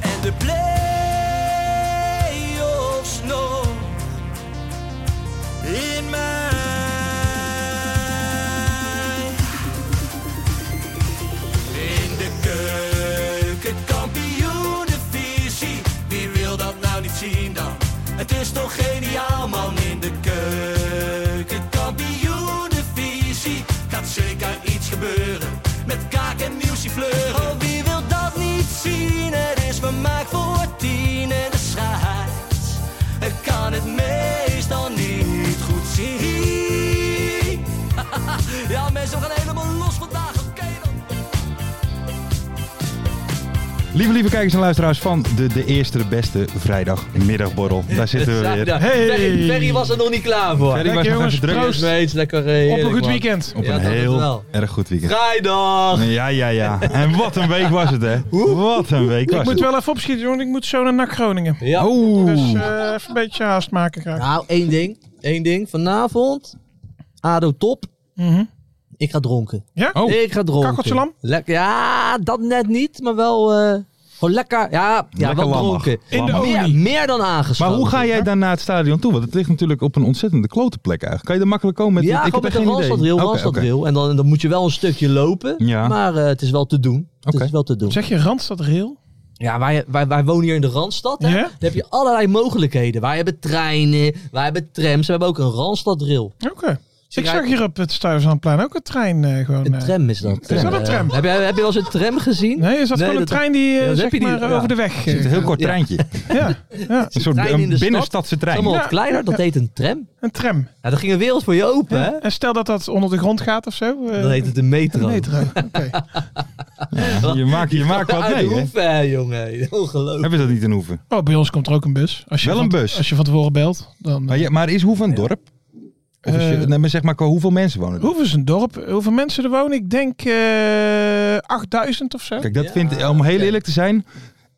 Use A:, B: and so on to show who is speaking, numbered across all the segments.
A: En de play-offs nog
B: In mij.
A: in de keuken, kampioenenvisie. Wie wil dat nou niet zien dan? Het is toch geniaal man in de keuken, kampioenenvisie. Gaat zeker iets gebeuren met kaak en muziek fleuren. Oh, wie wil dat niet zien? Het is vermaakt voor tien en de scheids. Ik kan het meestal niet goed zien. Ja, mensen, we gaan helemaal los vandaag. Oké dan.
C: Lieve, lieve kijkers en luisteraars van de, de eerste, de beste vrijdagmiddagborrel. Daar zitten we weer.
D: Zaterdag. Ferry, Ferry was er nog niet klaar voor.
C: Ferry was
E: Lekker,
C: nog
E: jongens,
C: even druk.
D: Lekker
E: proost.
D: smeets, lekker eh,
E: Op een
D: heerlijk,
E: goed
D: man.
E: weekend.
C: Op
D: Ja,
C: een
D: dat
C: heel
D: wel.
C: erg goed weekend.
D: Vrijdag!
C: Ja, ja, ja. En wat een week was het, hè? Wat een week
E: Ik
C: was
E: moet
C: het. Oh.
E: wel even opschieten, jongen. Ik moet zo naar NAC Groningen.
D: Ja.
E: Dus
C: Oeh.
E: eh, even een beetje haast maken graag.
D: Nou, één ding. Eén ding. Vanavond, ADO top.
E: Mhm.
D: Ik ga dronken.
E: Ja?
C: Oh.
D: Ik ga dronken.
E: Kakkeltje lam?
D: Lekker. Ja, dat net niet, maar wel eh, gewoon lekker. Ja, ja
C: Lekker
D: wel
C: lammig.
D: dronken.
E: In de
C: Lammig.
E: olie.
D: Meer, meer dan
C: Maar
D: aangeschoten.
C: hoe ga jij daar naar het stadion toe? Want het ligt natuurlijk op een ontzettende klote plek eigenlijk. Kan je er makkelijk komen met
D: Ja,
C: ik
D: gewoon
C: heb
D: met
C: echt
D: een
C: geen idee.
D: Randstadrail,
C: Oké,
D: Randstadrail. En dan, dan moet je wel een stukje lopen,
C: Ja.
D: maar eh, het is wel te doen. Het
C: Oké.
D: is wel te doen.
E: Zeg je Randstad Rail?
D: Ja, wij, wij, wij wonen hier in de Randstad. Hè?
E: Ja?
D: Dan heb je allerlei mogelijkheden. Wij hebben treinen, wij hebben trams, we hebben ook een Randstadrail.
E: Oké. Ik
D: jij-
E: zag hier op het Stuyvesantplein ook een trein eh, gewoon.
D: Een
E: eh.
D: tram is dat.
E: Is dat een
D: Eh,
E: tram?
D: heb, je, heb je wel eens een tram gezien?
E: Nee, is dat
D: Nee,
E: gewoon een
D: dat-
E: trein die eh,
D: dat heb
E: zeg
D: je niet.
E: maar eh,
D: Ja.
E: over de weg... eh,
C: Het is een heel kort
D: Ja.
C: treintje.
E: ja, ja,
C: Een soort
D: trein in de
C: een
D: stad.
C: binnenstadse
D: Dat is
C: trein.
D: allemaal
E: Ja.
D: wat kleiner, dat heet een tram.
E: een tram.
D: Ja, dat ging een wereld voor je open, hè?
E: En stel dat dat onder de grond gaat of zo. eh,
D: Dan heet het een metro.
E: een metro. Oké.
C: Je maakt, je maakt wat
D: Uit de
C: mee, hè?
D: hoeven, hè, jongen. Ongelooflijk.
C: Hebben ze dat niet in Hoeven?
E: Oh, bij ons komt er ook een bus. Als je
C: Wel
E: van-
C: een bus?
E: Als je van tevoren belt, dan...
C: Maar, ja, maar is Hoeven een dorp? Of is je-
E: Eh,
C: nee, maar zeg maar qua hoeveel mensen wonen er?
E: Hoeveel is eh, een dorp? Hoeveel mensen er wonen? Ik denk eh 8000 of zo.
C: Kijk, dat
D: Ja,
C: vind ik, om heel
D: oké.
C: eerlijk te zijn,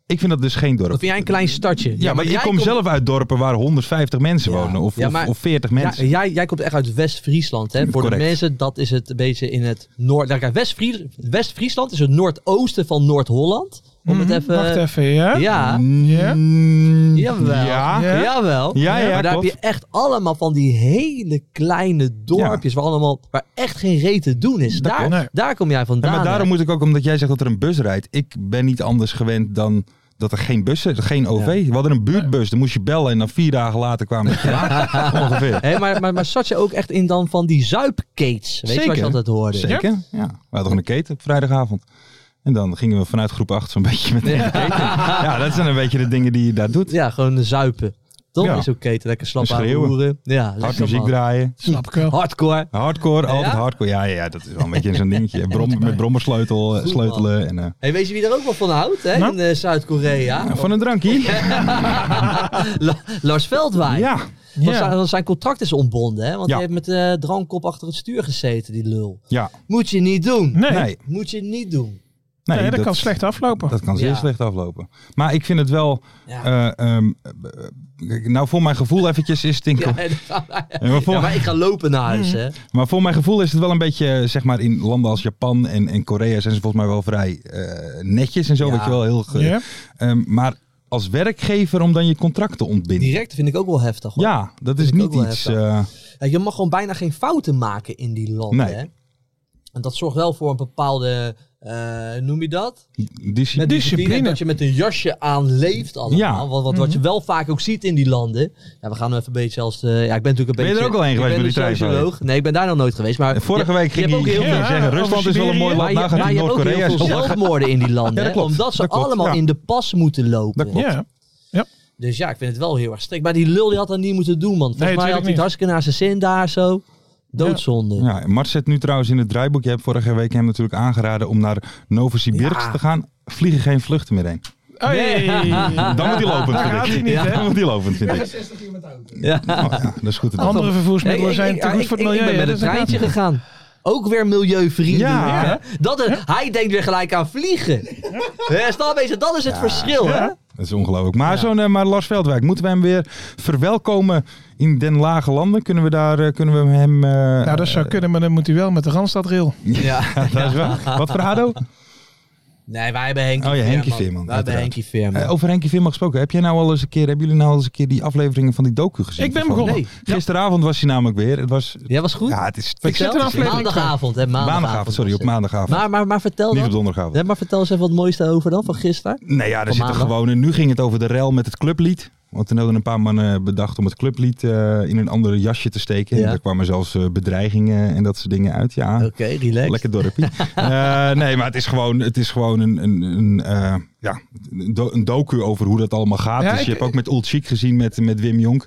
C: ik vind dat dus geen dorp.
D: Dan vind jij een klein stadje.
C: ja, maar, ik
D: jij
C: kom
D: komt-
C: zelf uit dorpen waar 150 mensen
D: Ja.
C: wonen of,
D: Ja, maar-
C: of, of 40
D: Ja,
C: mensen.
D: jij, jij komt echt uit West-Friesland. Hè? Voor
C: Correct.
D: de mensen, dat is het een beetje in het noord. Nou, kijk, West-Fries- West-Friesland is het noordoosten van Noord-Holland. Om het
E: Mhm,
D: even. eh,
E: Wacht even, ja.
D: Ja.
E: Ja.
C: Mm,
D: Jawel.
C: Ja.
E: Ja.
D: Jawel.
C: Ja, ja,
D: maar daar
C: klopt.
D: heb je echt allemaal van die hele kleine dorpjes waar, allemaal, waar echt geen reet te doen is. Daar,
E: klopt. Nee.
D: daar kom jij vandaan.
C: Ja, maar daarom moet ik ook, omdat jij zegt dat er een bus rijdt. Ik ben niet anders gewend dan dat er geen bussen, geen OV. We hadden een buurtbus, dan moest je bellen en dan vier dagen later kwamen we klaar. Ongeveer.
D: hè? Hé, maar, maar, maar zat je ook echt in dan van die zuipkeets? Weet je wat je
C: Zeker.
D: altijd hoorde?
C: Zeker, ja. We hadden gewoon een keten op vrijdagavond. En dan gingen we vanuit groep 8 zo'n beetje met de keten. Ja, dat zijn een beetje de dingen die je daar doet.
D: Ja, gewoon zuipen. Dat
C: Ja.
D: is oké. Lekker slap
C: En schreeuwen.
D: aanroeren. Ja,
C: Hard
D: lekker,
C: muziek
D: man.
C: draaien.
E: Snap ik wel.
D: Hardcore.
C: Hardcore,
D: Ja?
C: altijd hardcore. Ja, ja, ja, dat is wel een beetje zo'n dingetje. Brom, met brommersleutel eh,
D: Goed, man.
C: sleutelen. En, eh,
D: Hey, weet je wie er ook wel van houdt hè?
E: Nou?
D: in eh, Zuid-Korea?
C: van een drankje.
D: La- Lars Veldwijn.
C: Ja.
D: Want
E: Ja.
D: zijn, want zijn contract is ontbonden, hè? Want
C: Ja.
D: hij heeft met eh, de drankkop achter het stuur gezeten, die lul.
C: Ja.
D: Moet je niet doen.
E: Nee,
C: Nee.
D: Moet je niet doen.
C: Nee,
E: Nee, dat, kan slecht aflopen.
C: Dat kan zeer
D: Ja.
C: slecht aflopen. Maar ik vind het wel...
D: Ja.
C: eh, ehm, eh, kijk, nou, voor mijn gevoel eventjes is het in...
D: Ja, en-
C: Ja, maar, voor,
D: Ja,
C: Mm.
D: maar ik ga lopen naar huis, hè?
C: maar voor mijn gevoel is het wel een beetje, eh, zeg maar, in landen als Japan en, en Korea zijn ze volgens mij wel vrij eh, netjes en zo.
D: Ja.
C: Weet je wel, heel... ge-
E: Ja.
C: Ehm, maar als werkgever om dan je contract te ontbinden.
D: Direct vind ik ook wel heftig. Hoor.
C: Ja, dat is
D: Vind ik
C: niet
D: ook wel
C: iets...
D: heftig.
C: eh,
D: Ja, Je mag gewoon bijna geen fouten maken in die landen,
C: Nee.
D: hè? En dat zorgt wel voor een bepaalde eh, noem je dat?
C: Discipline.
D: Met
E: Discipline.
D: Dat je met een jasje aan leeft allemaal.
C: Ja. Mm-hmm.
D: Wat, wat, wat je wel vaak ook ziet in die landen. Ja, we gaan nog even een beetje als... eh, ja, ik ben natuurlijk een
C: Ben je er
D: beetje...
C: ook al heen
D: ik
C: geweest
D: ben
C: met die
D: een
C: trein, Eh,
D: socioloog. Nee, ik ben daar nog nooit geweest. Maar
C: Vorige
D: je-
C: week ging
D: je hebt ook
C: hij
D: heel
C: heel
D: veel-
C: veel zeggen,
E: Ja,
C: Rusland is wel een
E: over
C: mooi
E: Siberië.
C: land,
D: Maar je,
C: nou gaat
D: maar
C: hij
D: je hebt ook
C: Noord-Korea.
D: heel veel
C: zo-
D: zelfmoorden in die landen.
C: Ja, dat
D: hè,
C: klopt.
D: omdat ze
C: Dat klopt,
D: allemaal
C: ja.
D: in de pas moeten lopen.
C: Dat klopt.
E: Ja.
D: Dus ja, ik vind het wel heel erg strikt. Maar die lul die had dat niet moeten doen, man. Volgens
E: Nee,
D: mij had hij het
E: natuurlijk
D: hartstikke naar zijn zin daar zo. Doodzonde.
C: Ja, Mart zit nu trouwens in het draaiboek. Je hebt vorige week hem natuurlijk aangeraden om naar Novosibirsk
D: Ja.
C: te gaan. Vliegen geen vluchten meer heen.
E: Hey.
C: Dan moet hij lopend,
E: Daar
C: vind
E: gaat
C: ik.
E: hij niet, hè?
C: Dan moet hij lopend, vind ik. 60 met auto. Ja. Oh, ja, dat is goed. te doen.
E: Andere vervoersmiddelen
D: Nee,
E: zijn te goed
D: ik-
E: voor het
D: ik-
E: milieu.
D: Ik ben met
E: hè,
D: een
E: dus
D: treintje
E: dat gaat
D: gegaan. Ook weer milieuvriendelijk.
C: Ja.
D: hè? Dat het- Hij denkt weer gelijk aan vliegen. Ja. Snap je? Dat is het verschil. Hè?
C: Dat is ongelooflijk. Maar zo'n eh, maar Lars Veldwijk, moeten we hem weer verwelkomen in Den Lage Landen? Kunnen we, daar, eh, kunnen we hem... eh,
E: niet. Nou, dat zou kunnen, maar dan moet hij wel met de Randstadrail.
D: Ja.
C: dat is wel- Wat voor Ado?
D: Nee, wij hebben Henkie
C: Oh ja, Henkie Veerman,
D: Wij hebben
C: uiteraard.
D: Henkie Veerman.
C: Eh, over Henkie Vimma gesproken. Heb jij nou al eens een keer, hebben jullie nou al eens een keer die afleveringen van die docu gezien?
E: Ik ben
C: Van-
E: begonnen.
D: Nee.
C: Gisteravond was hij namelijk weer. Het was...
D: Ja, was goed?
C: Ja, het is...
E: Ik zit er
D: Vertel.
E: aflevering van.
D: Maandagavond, hè? Maandagavond.
C: Maandagavond, sorry,
D: was
C: op
D: het.
C: maandagavond.
D: Maar, maar, maar vertel
C: Niet op
D: dan.
C: donderdagavond.
D: Ja, maar vertel eens even wat het mooiste over dan, van gisteren.
C: Nee, ja, daar
D: Van
C: zitten
D: maandag.
C: gewoon. en Nu ging het over de rel met het clublied. Want toen hadden een paar mannen bedacht om het clublied eh, in een ander jasje te steken.
D: Ja.
C: En daar kwamen zelfs eh, bedreigingen en dat soort dingen uit. Ja,
D: Oké, relax.
C: lekker dorpje. Eh, nee, maar het is gewoon, het is gewoon een, een, een, eh, ja, een do- een docu over hoe dat allemaal gaat.
E: Ja,
C: dus je
E: ik-
C: hebt ook met Old Chic gezien met, met Wim Jonk.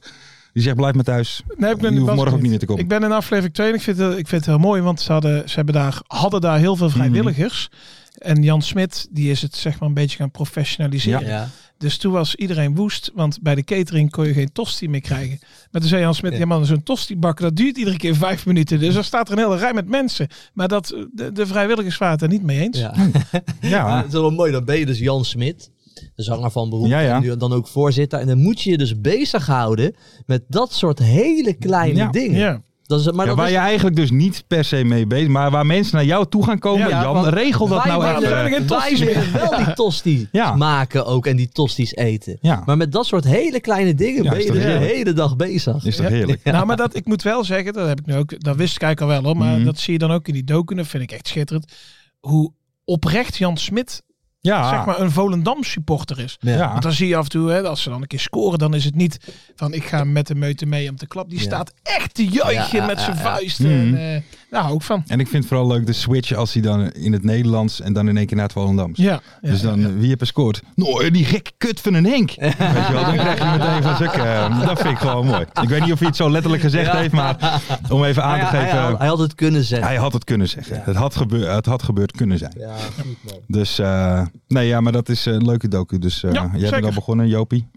C: Die zegt, blijf maar thuis.
E: Nee, ik
C: je
E: ben was
C: hoeft
E: er
C: morgen ook niet meer te komen.
E: Ik ben in aflevering 2 en ik vind, het- ik vind het heel mooi, want ze, hadden, ze hebben daar, hadden daar heel
C: Mhm.
E: veel vrijwilligers. En Jan Smit, die is het zeg maar een beetje gaan professionaliseren.
D: Ja.
E: Dus toen was iedereen woest, want bij de catering kon je geen tosti meer krijgen. Maar toen zei Jan Smit,
D: Ja.
E: ja, man, zo'n tosti bakken, dat duurt iedere keer vijf minuten. Dus er staat er een hele rij met mensen. Maar dat, eh, de, de vrijwilligers waren het er niet mee eens.
D: ja. Ja,
C: Ja,
D: het is wel mooi. Dan ben je dus Jan Smit, de zanger van beroep,
C: Ja, ja.
D: en nu dan ook voorzitter. En dan moet je je dus bezighouden met dat soort hele kleine
C: Ja.
D: dingen.
E: Ja.
D: Dat is, maar
C: Ja,
D: dat
C: waar
D: is-
C: je eigenlijk dus niet per se mee bezig maar waar mensen naar jou toe gaan komen.
D: Ja,
C: Jan,
D: want
C: regel dat
D: wij
C: nou
D: willen-
C: echt. eh,
E: geen
D: Wij
E: tosti's
D: willen wel die tosti's
C: Ja.
D: maken ook en die tosti's eten.
C: Ja.
D: Maar met dat soort hele kleine dingen
C: Ja,
D: ben
C: is
D: je
C: toch
D: dus de
C: heerlijk?
D: hele dag bezig.
C: Is toch heerlijk?
E: Nou, maar dat, ik moet wel zeggen, dat heb ik nu ook, dat wist ik eigenlijk al wel hoor, maar
D: Mhm.
E: dat zie je dan ook in die docu, dat vind ik echt schitterend. Hoe oprecht Jan Smit,
D: Ah.
C: Ja,
E: zeg maar, een Volendam supporter is.
C: ja.
E: Ah. Want dan zie je af en toe, hè, als ze dan een keer scoren, dan is het niet van ik ga met de meute mee om te klap. Die
D: Ja.
E: staat echt te juichen
D: Ja,
E: met
D: ja,
E: zijn
D: ja.
E: vuisten. En, eh, daar hou ik van.
C: En ik vind het vooral leuk de switch als hij dan in het Nederlands en dan in één keer naar het Volendams.
E: Ja, ja.
C: dus dan, eh, wie heb er scoort? Nou, eh, die gekke kut van een Henk. Weet je wel, dan krijg je meteen van zulke... eh, dat vind ik gewoon mooi. Ik weet niet of hij het zo letterlijk gezegd heeft, maar om even aan
D: Maar
C: te
D: ja,
C: geven...
D: hij, had, hij had het kunnen zeggen.
C: hij had het kunnen zeggen. Het, had gebeur, het had gebeurd kunnen zijn.
D: Ja, goed man.
C: Dus, eh, nee, ja, maar dat is eh, een leuke docu. Dus eh,
E: Ja,
C: jij bent
E: zeker.
C: al begonnen, Jopie.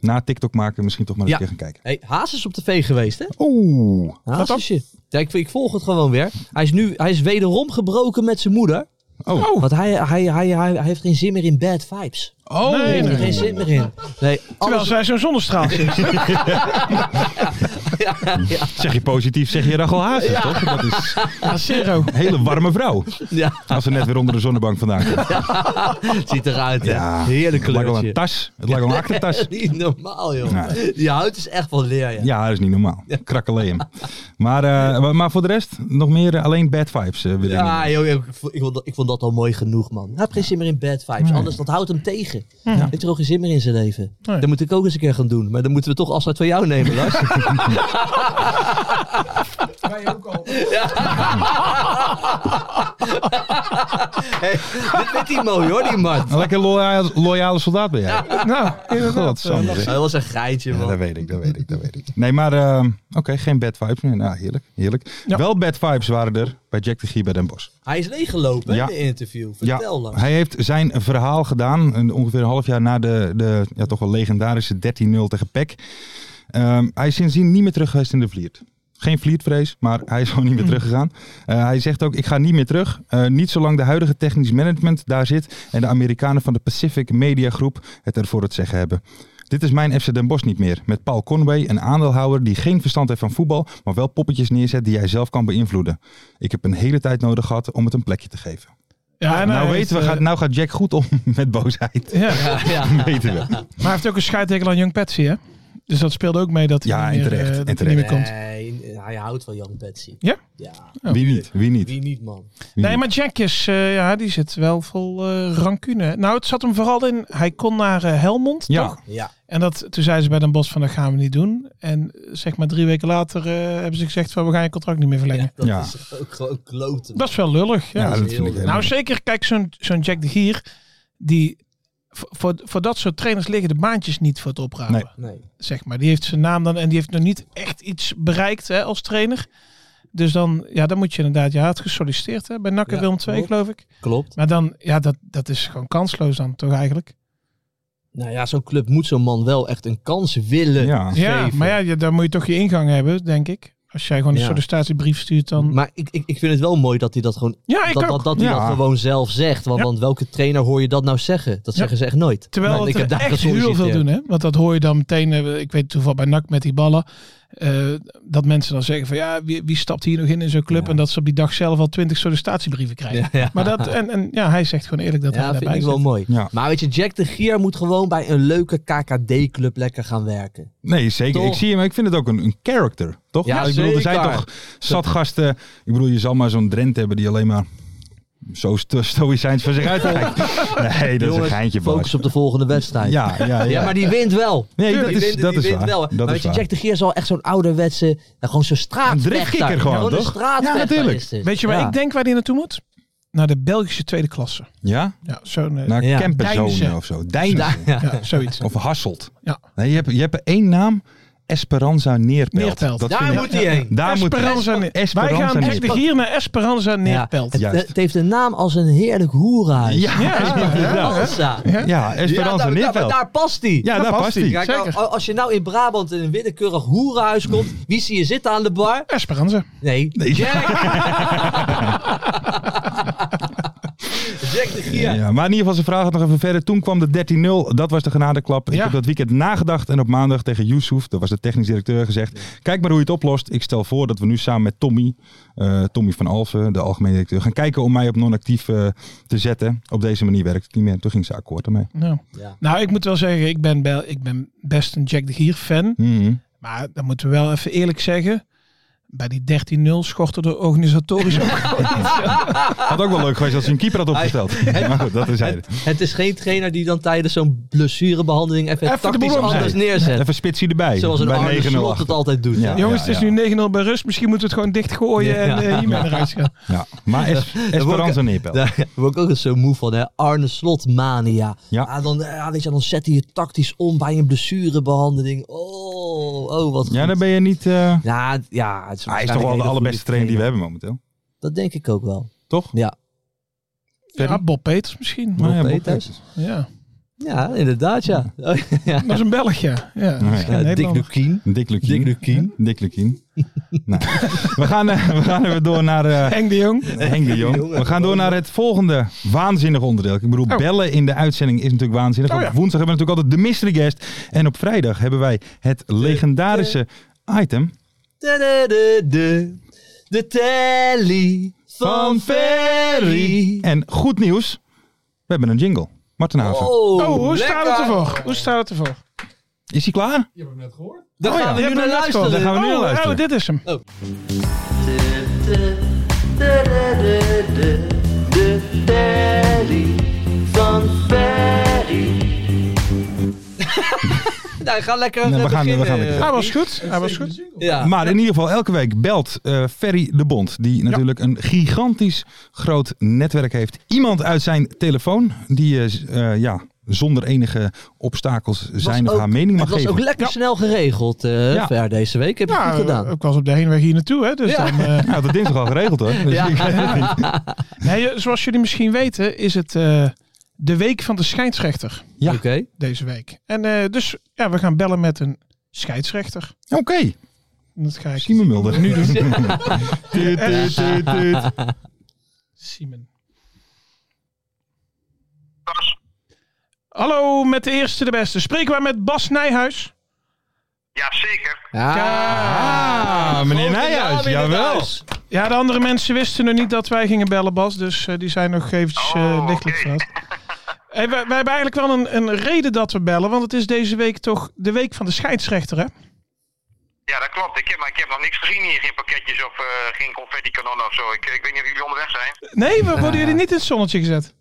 C: Na TikTok maken misschien toch maar eens
D: Ja.
C: een keer gaan kijken.
D: Hey, Haas is op tv geweest, hè?
C: Oeh.
D: Haasje. Ja, ik, ik volg het gewoon weer. Hij is nu, hij is wederom gebroken met zijn moeder.
C: Oh.
D: Want hij, hij, hij, hij, hij heeft geen zin meer in bad vibes.
C: Oh.
D: Hij heeft er geen zin meer in. Nee,
E: Terwijl
D: alles,
E: zij zo'n zonnestraal is.
D: ja, ja,
C: Zeg je positief, zeg je Rachel Hazes, toch? Dat is
E: zero.
C: een hele warme vrouw.
D: ja,
C: Als ze net weer onder de zonnebank vandaan komt.
D: het ziet eruit, hè.
C: Ja,
D: Heerlijk
C: Het lijkt wel een
D: kleurtje.
C: tas. Het lijkt wel een aktentas.
D: Niet normaal, joh.
C: Nee.
D: Die hout is echt wel leer, ja.
C: Ja, dat is niet normaal. Krakkeleum. Maar, eh, maar- maar voor de rest, nog meer eh, alleen bad vibes. eh, wil ik niet.
D: Ja, joh, joh, ik, vond- ik, vond dat, ik vond dat al mooi genoeg, man. Hij heeft geen zin meer in bad vibes. Anders, dat houdt hem tegen. Hij heeft er ook geen zin meer in zijn leven.
E: Nee.
D: Dat moet ik ook eens een keer gaan doen. Maar dan moeten we toch afscheid van jou nemen, Lars. Wij ook al. dit vindt hij mooi, hoor, die man.
C: Een lekker loyale, loyale soldaat ben jij.
E: Nou, inderdaad.
C: God, Sander. zeg.
D: Dat was een geintje,
C: Ja,
D: man.
C: dat weet ik, dat weet ik, dat weet ik. Nee, maar eh, oké, geen bad vibes meer. Nou, heerlijk, heerlijk.
E: Ja.
C: Wel bad vibes waren er bij Jack de Gier bij Den Bosch.
D: Hij is leeggelopen
C: Ja.
D: in de interview. Vertel, Lars.
C: hij heeft zijn verhaal gedaan. een- Ongeveer een half jaar na de, de ja, toch wel legendarische 13-0 tegen PEC. Ehm, hij is sindsdien niet meer terug geweest in de Vliert. Geen vliertvrees, maar hij is gewoon niet meer teruggegaan. Eh, hij zegt ook, ik ga niet meer terug. Eh, niet zolang de huidige technisch management daar zit... en de Amerikanen van de Pacific Media Groep het ervoor het zeggen hebben. Dit is mijn FC Den Bosch niet meer. Met Paul Conway, een aandeelhouder die geen verstand heeft van voetbal... maar wel poppetjes neerzet die hij zelf kan beïnvloeden. Ik heb een hele tijd nodig gehad om het een plekje te geven.
E: Ja, en
C: nou
E: hij
C: weten we,
E: heeft,
C: gaat,
E: eh,
C: nou gaat Jack goed om met boosheid.
E: ja.
D: Ja, ja.
C: weten we.
E: Maar hij heeft ook een scheidtekel aan Young Patsy, hè? Dus dat speelde ook mee dat hij
C: Ja,
E: niet
C: en
E: meer,
C: terecht,
E: eh,
C: en
E: dat hij niet meer
C: terecht.
E: komt.
D: Nee, hij hij houdt van Young Patsy.
E: Ja?
D: Ja,
C: Wie niet? Wie niet?
D: wie niet man.
C: Wie
E: Nee,
C: niet?
E: maar Jack is, eh, ja, die zit wel vol eh, rancune. Nou, het zat hem vooral in, hij kon naar eh, Helmond,
C: Ja.
E: toch?
D: Ja,
E: En dat, toen zeiden ze bij Den Bos van, dat gaan we niet doen. En eh, zeg maar drie weken later eh, hebben ze gezegd van, we gaan je contract niet meer verlengen.
D: ja dat
C: Ja.
D: is ook gewoon kloten.
E: Dat is wel lullig, ja.
C: Ja,
D: dat is
C: dat vind ik
D: heel-
C: helemaal-
E: Nou, zeker, kijk, zo'n zo'n Jack de Gier, die... Voor, voor, voor dat soort trainers liggen de baantjes niet voor het oprapen.
C: Nee.
D: Nee.
E: Zeg maar. Die heeft zijn naam dan en die heeft nog niet echt iets bereikt hè, als trainer. Dus dan, ja, dan moet je inderdaad, ja, het gesolliciteerd hè, bij Nakken
D: Ja,
E: Willem II,
D: klopt.
E: geloof ik.
D: Klopt.
E: Maar dan, ja, dat, dat is gewoon kansloos dan toch eigenlijk.
D: Nou ja, zo'n club moet zo'n man wel echt een kans willen.
C: Ja.
E: Ja, maar ja, je- daar moet je toch je ingang hebben, denk ik. Als jij gewoon een
D: Ja.
E: sollicitatiebrief stuurt, dan...
D: Maar ik, ik, ik vind het wel mooi dat hij dat gewoon,
E: ja, ik
D: dat,
E: ook.
D: dat, dat, hij
C: Ja.
D: dat gewoon zelf zegt. Want,
E: Ja.
D: want welke trainer hoor je dat nou zeggen? Dat
E: Ja.
D: zeggen ze echt nooit. Nou,
E: Terwijl
D: Want
E: het er echt heel veel
D: gesolliciteerd.
E: doen, hè? Want dat hoor je dan meteen, eh, ik weet toevallig bij NAC met die ballen, eh, dat mensen dan zeggen van ja, wie, wie stapt hier nog in in zo'n club?
D: Ja.
E: En dat ze op die dag zelf al twintig sollicitatiebrieven krijgen.
D: Ja, ja.
E: Maar dat, en, en ja, hij zegt gewoon eerlijk dat hij
D: ja, vind
E: daarbij
D: ik wel
E: zit.
D: mooi.
C: Ja.
D: Maar weet je, Jack de Gier moet gewoon bij een leuke KKD-club lekker gaan werken.
C: Nee, zeker.
D: Toch?
C: Ik zie hem, maar ik vind het ook een, een character, toch?
D: Ja,
C: ik bedoel, er zijn
D: zeker.
C: toch zat gasten. Ik bedoel, je zal maar zo'n Drent hebben die alleen maar zo sto- stoïcijns van zich uitkijkt. Nee, dat is
D: Jongens,
C: een geintje,
D: Focus
C: Bas.
D: op de volgende wedstrijd.
C: Ja, ja, ja.
D: Ja, maar die wint wel.
C: Nee,
D: Die
C: dat is-
D: wint-
C: dat
D: die
C: is
D: wint
C: waar.
D: Wel.
C: Dat
D: maar
C: is
D: weet je,
C: waar.
D: Jack de Gier is wel echt zo'n ouderwetse, nou, gewoon zo'n straatvechter.
C: Een driftkikker gewoon,
D: een
C: toch?
D: straatvechter
C: Ja, natuurlijk.
D: is dit.
E: Weet je waar
D: Ja.
E: ik denk waar hij naartoe moet? Naar de Belgische tweede klasse.
C: Ja?
E: Ja, zo'n, eh,
C: Naar
D: Ja.
C: Kempenzone
E: Deinzen.
C: of zo. Deinzen.
D: Ja.
E: ja, zoiets.
C: Of Hasselt.
E: Ja.
C: Nee, je hebt, je hebt er één naam. Esperanza Neerpelt.
E: Neerpelt.
C: Dat
D: Daar
C: vind ik-
D: moet hij heen.
C: Daar moet
E: Esperanza, neer.
C: Esperanza
E: Wij gaan echt
C: neer.
E: de gier naar Esperanza neerpelt.
D: Het,
E: Ja.
C: Juist.
D: het heeft een naam als een heerlijk hoerenhuis.
C: Ja,
E: ja, ja.
D: Alsa.
E: Ja.
C: ja, Esperanza
D: daar, daar,
C: Neerpelt.
D: daar past hij.
C: Ja, daar past hij.
D: Kijk, nou,
E: zeker.
D: als je nou in Brabant in een willekeurig hoerenhuis komt, wie zie je zitten aan de bar?
E: Esperanza.
D: Nee,
C: Nee.
D: Jack. Jack de Gier.
C: Ja, maar in ieder geval, zijn vraag gaat nog even verder. Toen kwam de 13-0, dat was de genadeklap. Ik
E: Ja.
C: heb dat weekend nagedacht en op maandag tegen Yusuf, dat was de technisch directeur, gezegd... Kijk maar hoe je het oplost. Ik stel voor dat we nu samen met Tommy, eh, Tommy van Alphen, de algemene directeur... gaan kijken om mij op non-actief eh, te zetten. Op deze manier werkt het niet meer. Toen ging ze akkoord ermee.
E: Nou.
D: Ja.
E: nou, ik moet wel zeggen, ik ben, wel- ik ben best een Jack de Gier fan.
C: Mhm.
E: Maar dan moeten we wel even eerlijk zeggen. Bij die 13-0 schortte de organisatorisch ook.
C: Had ook wel leuk geweest als hij een keeper had opgesteld. Maar goed, dat is hij.
D: Het is geen trainer die dan tijdens zo'n blessurebehandeling even,
E: Even de
D: tactisch
E: boel omzet.
D: anders neerzet.
C: Even spitsie erbij.
D: Zoals een
C: bij
D: Arne Slot
C: 9-0.
D: het altijd doet.
C: Ja.
D: Ja.
E: Jongens, het is nu 9-0 bij rust. Misschien moeten we het gewoon dichtgooien
D: Ja.
E: en eh, hiermee
C: Ja.
E: eruit gaan.
C: Ja. Maar es Esperanza Neerpelt.
D: Daar word ik ook eens zo moe van, hè? Arne Slot mania.
C: Ja.
D: Ah, dan, ja, weet je, dan zet hij je tactisch om bij een blessurebehandeling. Oh, oh wat
C: Ja,
D: goed.
C: daar ben je niet... eh,
D: Ja, ja, het
C: hij is toch
D: waarschijnlijk een
C: wel de
D: hele
C: allerbeste
D: goede
C: trainer die we hebben momenteel.
D: Dat denk ik ook wel.
C: Toch?
D: Ja,
E: Ja, Bob Peters misschien.
C: Maar ja, Bob
D: Peters.
C: Peters.
E: Ja.
D: ja inderdaad, ja. Oh, ja.
E: Dat is een Belg, ja. ja, dat is geen
D: Eh, Dick
E: Nederlander.
D: Lukien.
C: Dick Lukien.
D: Dick Lukien.
C: Ja, Dick Lukien. nou, we, gaan, eh, we gaan even door naar eh,
E: Henk de Jong.
C: Henk de Jong. We gaan door naar het volgende waanzinnige onderdeel. Ik bedoel,
E: Oh.
C: bellen in de uitzending is natuurlijk waanzinnig.
E: Oh, ja.
C: Op woensdag hebben we natuurlijk altijd de mystery guest. En op vrijdag hebben wij het legendarische item
D: Da, da, da, da. De telly van Ferry.
C: En goed nieuws, we hebben een jingle. Martin Haven.
E: Oh, hoe
D: lekker.
E: staat het ervoor? Hoe staat het ervoor?
C: Is hij klaar?
D: Daar
C: Oh ja,
D: gaan we
C: je
D: nu naar luisteren.
C: Daar gaan we nu
E: Oh,
C: naar luisteren.
E: oh, dit is hem.
D: De telly van Ferry. nou, ga lekker
C: Nee, we
D: eh,
C: gaan- we
D: beginnen.
C: gaan lekker.
E: Hij was goed. Hij was goed.
D: Ja.
C: Maar in ieder geval, elke week belt eh, Ferry de Bond. Die natuurlijk een gigantisch groot netwerk heeft. Iemand uit zijn telefoon die eh, z- eh, ja, zonder enige obstakels
D: Was
C: zijn of
D: ook-
C: haar mening mag
D: Het was
C: geven.
D: ook lekker snel geregeld eh
C: Ja. eh,
D: ver deze week. Heb je
E: Ja,
D: goed gedaan.
E: ik was op de heenweg hier naartoe. Hè, dus
D: Ja.
E: dan, eh,
C: Nou, dat dinsdag al geregeld hoor. Dus
D: Ja.
C: ik-
E: nee, eh, zoals jullie misschien weten is het eh, de week van de scheidsrechter.
C: eh, ja.
D: Oké.
E: deze week. En eh, dus ja, we gaan bellen met een scheidsrechter.
C: Oké,
E: En Dat ga ik.
C: Simon Mulder. Nu doen.
D: dus.
C: Tuut, tuut, tuut, tuut.
E: Simon. Hallo, met de eerste de beste. Spreken we met Bas Nijhuis?
F: Ja, zeker.
C: Ah, meneer
D: Grote
C: Nijhuis,
D: naam in het
C: jawel.
D: huis.
E: Ja, de andere mensen wisten nog niet dat wij gingen bellen, Bas. Dus eh, die zijn nog eventjes eh,
F: Oh,
E: lichtelijk
F: oké.
E: verrast. Hey, wij, wij hebben eigenlijk wel een, een reden dat we bellen. Want het is deze week toch de week van de scheidsrechter, hè?
F: Ja, dat klopt. Ik heb, maar ik heb nog niks gezien hier. Geen pakketjes of eh, geen confetti-kanonnen of zo. Ik, ik weet niet of jullie onderweg zijn.
E: Nee, we worden jullie niet in het zonnetje gezet.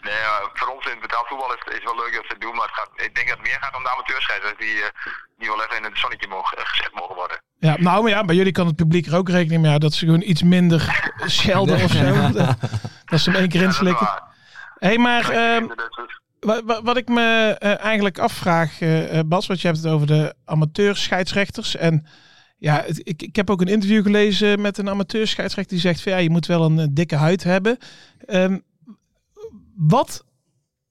F: nee, maar voor ons in het betaald voetbal is, is wel leuk dat ze het doen. Maar het gaat, ik denk dat het meer gaat om de amateurscheidsrechters die, eh, die wel even in het zonnetje mogen, eh, gezet mogen worden.
E: Ja, nou maar ja, bij jullie kan het publiek er ook rekening mee houden dat ze gewoon iets minder schelden of zo. Dat ze hem één keer
F: Ja, dat is
E: inslikken.
F: waar.
E: Hé, hey, maar
F: Ja,
E: ehm,
F: ik vind het dus-
E: wa- wa- wat ik me eh, eigenlijk afvraag, eh, eh, Bas, want je hebt het over de amateurscheidsrechters. En ja, het- ik, ik heb ook een interview gelezen met een amateurscheidsrechter die zegt van ja, je moet wel een eh, dikke huid hebben. Ehm, wat,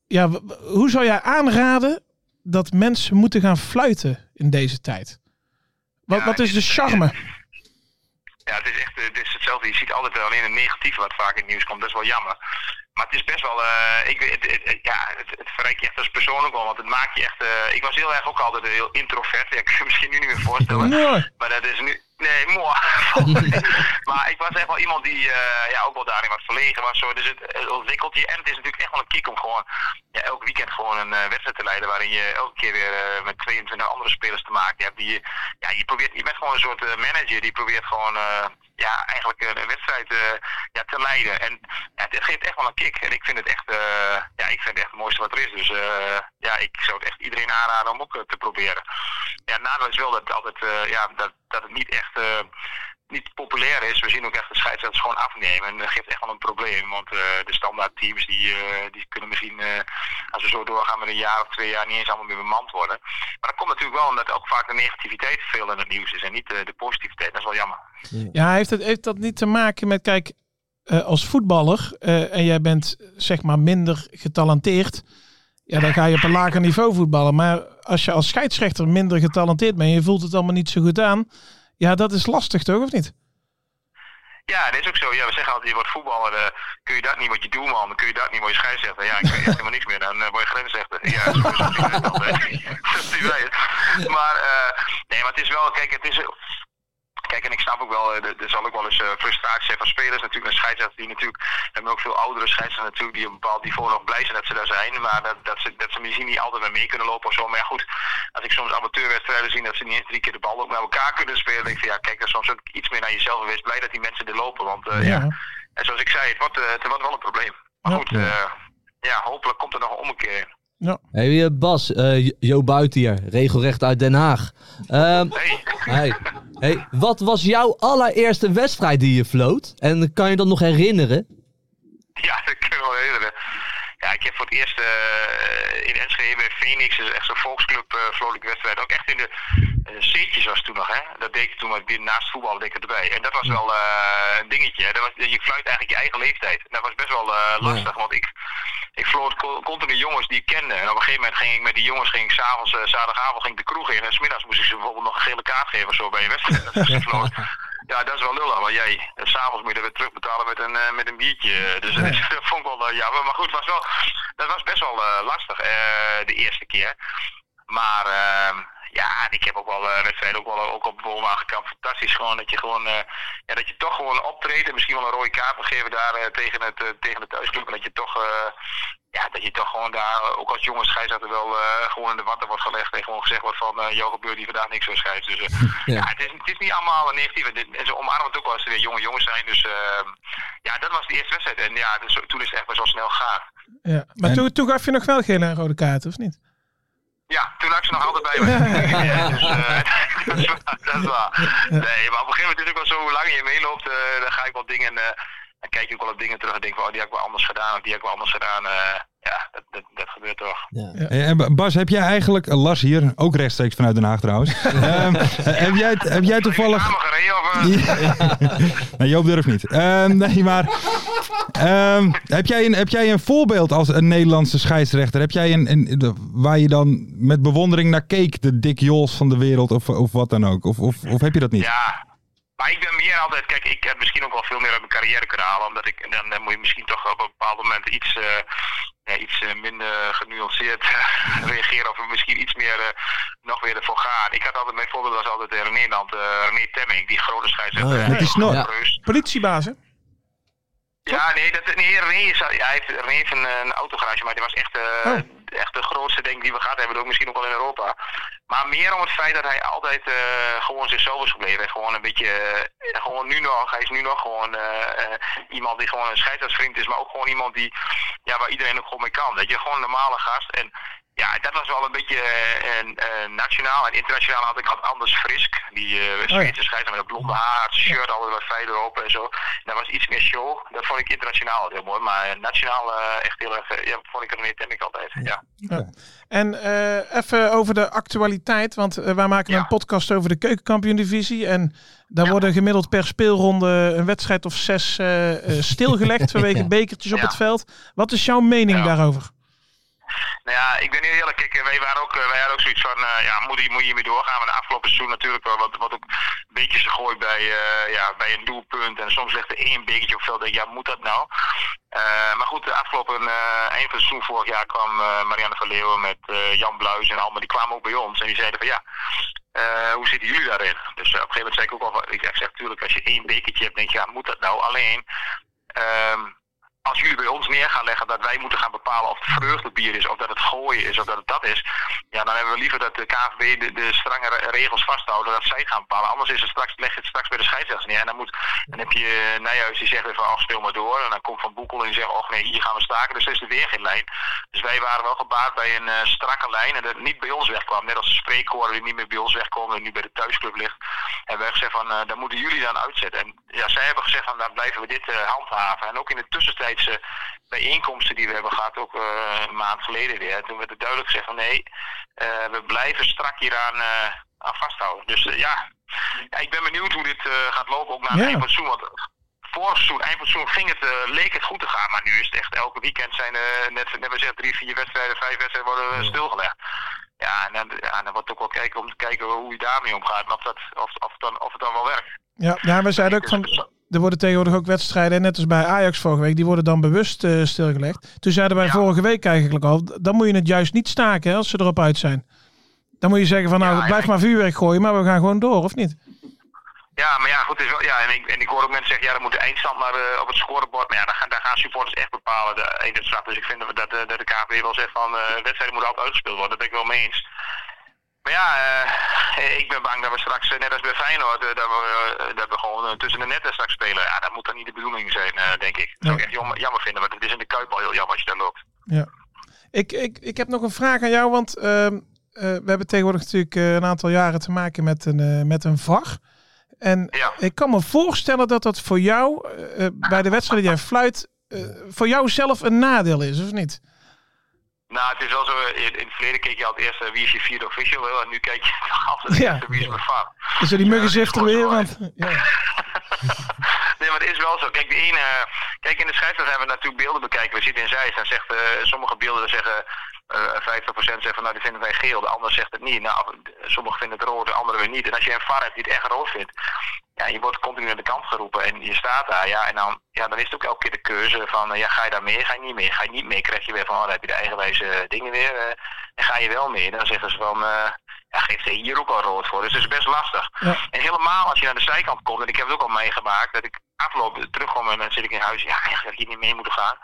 E: ja, w- w- hoe zou jij aanraden dat mensen moeten gaan fluiten in deze tijd? Wat,
F: Ja,
E: wat is de charme?
F: Ja, het is echt eh, het is hetzelfde. Je ziet altijd alleen het negatieve wat vaak in het nieuws komt. Dat is wel jammer. Maar het is best wel, eh, ik weet, het, het- het- ja, het, het verrijkt je echt als persoon ook wel. Want het maakt je echt, eh, ik was heel erg ook altijd heel introvert. Ja, ik kan je misschien nu niet meer voorstellen.
E: Nee.
F: Maar dat is nu. Nee, mooi. maar ik was echt wel iemand die eh, ja, ook wel daarin wat verlegen was. Zo. Dus het, het ontwikkelt je. En het is natuurlijk echt wel een kick om gewoon ja, elk weekend gewoon een eh, wedstrijd te leiden. Waarin je elke keer weer eh, met 22 andere spelers te maken hebt. Die, je- ja, je, probeert, je bent gewoon een soort eh, manager die probeert gewoon eh, ja, eigenlijk een, een wedstrijd eh, ja, te leiden. En ja, het, geeft echt wel een kick. En ik vind het echt, eh, ja, ik vind het echt het mooiste wat er is. Dus eh, ja, ik zou het echt iedereen aanraden om ook eh, te proberen. Ja, het nadeel is wel dat het, altijd, eh, ja, dat, dat het niet echt eh, niet populair is. We zien ook echt de scheidsrechters gewoon afnemen. En dat geeft echt wel een probleem. Want eh, de standaard teams die, eh, die kunnen misschien, eh, als we zo doorgaan met een jaar of twee jaar, niet eens allemaal meer bemand worden. Maar dat komt natuurlijk wel omdat ook vaak de negativiteit veel in het nieuws is en niet eh, de positiviteit. Dat is wel jammer.
E: Ja, heeft, het, heeft dat niet te maken met, kijk, eh, als voetballer eh, en jij bent zeg maar minder getalenteerd, ja, dan ga je op een lager niveau voetballen. Maar als je als scheidsrechter minder getalenteerd bent en je voelt het allemaal niet zo goed aan, ja, dat is lastig toch, of niet?
F: Ja, dat is ook zo. Ja, we zeggen altijd, je wordt voetballer, eh, kun je dat niet wat je doelman, dan kun je dat niet wat je scheidsrechter. Ja, ik weet echt helemaal niks meer, dan eh, word je grensrechter. Ja, zo is het niet dat, hè. Maar, eh, nee, maar het is wel, kijk, het is... eh, Kijk, en ik snap ook wel, eh, er- er zal ook wel eens eh, frustratie zijn van spelers. Natuurlijk, een scheidsrechter die natuurlijk, er hebben ook veel oudere scheidsrechters natuurlijk, die op een bepaald niveau nog blij zijn dat ze daar zijn. Maar dat, dat, ze, dat ze misschien niet altijd mee mee kunnen lopen of zo. Maar ja, goed, als ik soms amateurwedstrijden zie dat ze niet eens drie keer de bal ook met elkaar kunnen spelen. denk Ik van ja, kijk, dat is soms ook iets meer naar jezelf. en Wees blij dat die mensen er lopen. Want eh, ja. en zoals ik zei, het wordt, eh, het wordt wel een probleem. Maar
E: Ja.
F: goed, eh, ja, hopelijk komt er nog een ommekeer in.
D: Hey, eh, Bas, eh, Jo Buit hier, regelrecht uit Den Haag. Ehm,
F: Hey.
D: hey, hey, wat was jouw allereerste wedstrijd die je floot? En kan je dat nog herinneren?
F: Ja, dat kunnen we wel herinneren. Ja, ik heb voor het eerst eh, in Enschede bij Phoenix, dat is echt zo'n volksclub, eh vrolijke wedstrijd. Ook echt in de eh, C'tjes was het toen nog, hè. Dat deed ik toen, maar ik deed naast voetbal deed ik het erbij. En dat was wel eh, een dingetje, hè. Dat was, je fluit eigenlijk je eigen leeftijd. En dat was best wel eh, lastig, want ik, ik floot co- continu jongens die ik kende. En op een gegeven moment ging ik met die jongens, ging ik s'avonds, eh, zaterdagavond ging ik de kroeg in. En smiddags moest ik ze bijvoorbeeld nog een gele kaart geven of zo bij een wedstrijd. Dat is gefloten. Ja, dat is wel lullig, want jij, eh, s'avonds moet je dat weer terugbetalen met een, eh, met een biertje. Dus dat, is, dat vond ik wel eh, jammer. Maar goed, was wel, dat was best wel eh, lastig eh, de eerste keer. Maar ehm, ja, ik heb ook wel eh, wedstrijden ook wel ook op Boom aangekampt. Fantastisch gewoon dat je gewoon eh, ja, dat je toch gewoon optreedt en misschien wel een rode kaart wil geven daar eh, tegen het eh, tegen de thuisclub. En dat je toch eh, ja, dat je toch gewoon daar, eh, ook als jonge scheidsrechter wel eh, gewoon in de watten wordt gelegd en gewoon gezegd wordt van eh jou gebeurt hier vandaag niks zo scheids. Dus eh,
D: Ja.
F: ja. het, is, het is niet allemaal negatief. En dit- En ze omarmen het ook wel als ze weer jonge jongens zijn. Dus eh, ja, dat was de eerste wedstrijd. En ja, dus, toen is het echt wel zo snel gegaan.
E: Ja. Maar
C: En-
E: toen, toen gaf je nog wel geen rode kaart, of niet?
F: Ja, toen had ik ze nog altijd bij me. Ja, dus, eh, dat, is waar, dat is waar. Nee, maar op een gegeven moment is het ook wel zo, hoe langer je meeloopt, eh, dan ga ik wel dingen, eh, dan kijk je ook wel op dingen terug en denk van, oh, die heb ik wel anders gedaan, of die heb ik wel anders gedaan. eh, ja, dat, dat, dat gebeurt toch.
C: Eh, eh, Bas, heb jij eigenlijk, eh, Las hier, ook rechtstreeks vanuit Den Haag trouwens. Ehm, eh, heb, jij, heb jij toevallig...
F: Samen gereden, of, eh,
C: Nee, Joop durft niet. Ehm, nee, maar... ehm, heb, jij een, heb jij een voorbeeld als een Nederlandse scheidsrechter? Heb jij een, een, de- waar je dan met bewondering naar keek? De Dick Jols van de wereld of, of wat dan ook? Of, of, of heb je dat niet?
F: Ja, maar ik ben meer altijd, kijk, ik heb misschien ook wel veel meer uit mijn carrière kunnen halen, omdat ik, dan, eh, moet je misschien toch op een bepaald moment iets, eh, ja, iets eh, minder genuanceerd eh, reageren of misschien iets meer eh, nog weer ervoor gaan. Ik had altijd, mijn voorbeeld was altijd eh, René Land, eh, René Temming, die grote scheidsrechter.
C: Oh Met die snor.
F: Ja. Reus.
E: Politiebazen?
F: Ja, nee, dat, nee René, is, ja, hij heeft, René heeft een, eh, een autogarage, maar die was echt eh, echt de grootste denk ik die we gehad hebben. Ook misschien ook wel in Europa. Maar meer om het feit dat hij altijd eh, gewoon zichzelf is gebleven. En Gewoon een beetje, eh, gewoon nu nog. Hij is nu nog gewoon eh, eh, iemand die gewoon een scheidsartsvriend is. Maar ook gewoon iemand die, ja, waar iedereen ook gewoon mee kan. Dat je gewoon een normale gast. En ja, dat was wel een beetje eh, en, eh, nationaal. En internationaal had ik had Anders Frisk. Die eh Zweedse scheidsrechter met een blonde haar, het shirt, altijd wat fijn erop en zo. En dat was iets meer show. Dat vond ik internationaal heel mooi. Maar eh, nationaal eh, echt heel erg, eh, ja, vond ik het meer ik altijd. Ja.
E: En eh, even over de actualiteit, want eh, wij maken
F: Ja.
E: een podcast over de keukenkampioen-divisie. En daar worden gemiddeld per speelronde een wedstrijd of zes eh, eh, stilgelegd vanwege
D: Ja.
E: bekertjes op
F: Ja.
E: het veld. Wat is jouw mening
F: Ja.
E: daarover?
F: Nou ja, ik ben heel eerlijk. Kijk, eh, wij, waren ook, eh, wij hadden ook zoiets van, eh, ja, moet, hier- moet je hiermee doorgaan? Want de afgelopen seizoen natuurlijk wel wat, wat ook beetjes gegooid bij, eh, ja, bij een doelpunt. En soms ligt er één bekertje op het veld. Denk, ik, ja, moet dat nou? Eh, maar goed, de afgelopen eh, eind van het seizoen vorig jaar kwam eh, Marianne van Leeuwen met eh, Jan Bluis en allemaal. Die kwamen ook bij ons en die zeiden van ja, eh, hoe zitten jullie daarin? Dus eh, op een gegeven moment zei ik ook al, van- ik zeg natuurlijk als je één bekertje hebt, denk je ja, moet dat nou? Alleen, ehm, als jullie bij ons neer gaan leggen dat wij moeten gaan bepalen of het vreugdebier is, of dat het gooien is, of dat het dat is, ja, dan hebben we liever dat de KNVB de, de strenge re- regels vasthouden, dat zij het gaan bepalen. Anders is het straks, leg je het straks bij de scheidsrechter neer. En dan, moet, dan heb je eh, Nijhuis die zegt weer van, oh, speel maar door. En dan komt Van Boekel en die zegt, och nee, hier gaan we staken. Dus er is er weer geen lijn. Dus wij waren wel gebaat bij een eh, strakke lijn en dat het niet bij ons wegkwam. Net als de spreekkoren die niet meer bij ons wegkomen en nu bij de thuisclub ligt. En we hebben gezegd van, eh daar moeten jullie dan uitzetten. En ja, zij hebben gezegd van, dan blijven we dit eh, handhaven. En ook in de tussentijdse bijeenkomsten die we hebben gehad, ook eh, een maand geleden weer. Toen werd het duidelijk gezegd van, nee, eh, we blijven strak hieraan eh, aan vasthouden. Dus eh, ja. ja, ik ben benieuwd hoe dit eh, gaat lopen, ook
E: Ja.
F: naar het eind van het seizoen. Want vorig seizoen, eind van het seizoen, ging het, eh, leek het goed te gaan. Maar nu is het echt, elke weekend zijn eh net, net we zeggen, drie, vier wedstrijden, vijf wedstrijden worden eh, stilgelegd. Ja, en dan, ja, dan wordt het ook wel kijken om te kijken hoe je daarmee omgaat. en Of, dat, of, of, dan, of het dan wel werkt.
E: Ja, ja we zeiden ook van, er worden tegenwoordig ook wedstrijden, net als bij Ajax vorige week, die worden dan bewust eh, stilgelegd. Toen zeiden wij
F: Ja.
E: vorige week eigenlijk al, d- dan moet je het juist niet staken hè, als ze erop uit zijn. Dan moet je zeggen van, nou,
F: Ja, ja,
E: blijf
F: ik-
E: maar vuurwerk gooien, maar we gaan gewoon door, of niet?
F: Ja, maar ja, goed, het is wel, ja, en, ik, en ik hoor ook mensen zeggen, ja, dan moet de eindstand maar eh, op het scorebord. Maar ja, daar gaan, daar gaan supporters echt bepalen, de eindstand. Dus ik vind dat, we- dat, eh, dat de KNVB wel zegt van, eh wedstrijden moeten altijd uitgespeeld worden. Daar ben ik wel mee eens. Maar ja, eh, ik ben bang dat we straks, eh, net als bij Feyenoord, eh, dat, we, eh, dat we gewoon eh, tussen de netten straks spelen. Ja, dat moet dan niet de bedoeling zijn, eh, denk ik. Dat zou ik echt jammer, jammer vinden, want het is in de Kuip al heel jammer als je daar loopt.
E: Ja. Ik, ik, ik heb nog een vraag aan jou, want ehm, eh, we hebben tegenwoordig natuurlijk eh, een aantal jaren te maken met een, eh, met een VAR. En
F: Ja.
E: ik kan me voorstellen dat dat voor jou, eh, eh, bij de wedstrijd die jij fluit, eh, voor jou zelf een nadeel is, of niet?
F: Nou, het is wel zo, eh, in, in het verleden keek je altijd eerst eh, wie is je vierde official, hè, en nu kijk je altijd
E: Ja.
F: eerst wie is mijn fan.
E: Dus die muggenzift er
F: dat is
E: weer,
F: gewoon
E: want... Ja.
F: Nee, maar het is wel zo. Kijk, de ene, eh, kijk in de scheidsrechter hebben we natuurlijk beelden bekijken. We zitten in Zeist en zegt, eh, sommige beelden zeggen, eh 50% zegt van nou, die vinden wij geel. De ander zegt het niet. Nou, of- sommigen vinden het rood, de anderen weer niet. En als je een VAR hebt die het echt rood vindt, ja, je wordt continu aan de kant geroepen en je staat daar. Ja, en dan, ja, dan is het ook elke keer de keuze van, eh, ja, ga je daar mee, ga je niet mee. Ga je niet mee, krijg je weer van, oh, dan heb je de eigenwijze dingen weer. eh, en ga je wel mee, dan zeggen ze van... eh, ja, geeft ze hier ook al rood voor. Dus het is best lastig.
E: Ja.
F: En helemaal als je naar de zijkant komt, en ik heb het ook al meegemaakt, dat ik afloop terugkom en dan zit ik in huis, ja, eigenlijk had ik hier niet mee moeten gaan.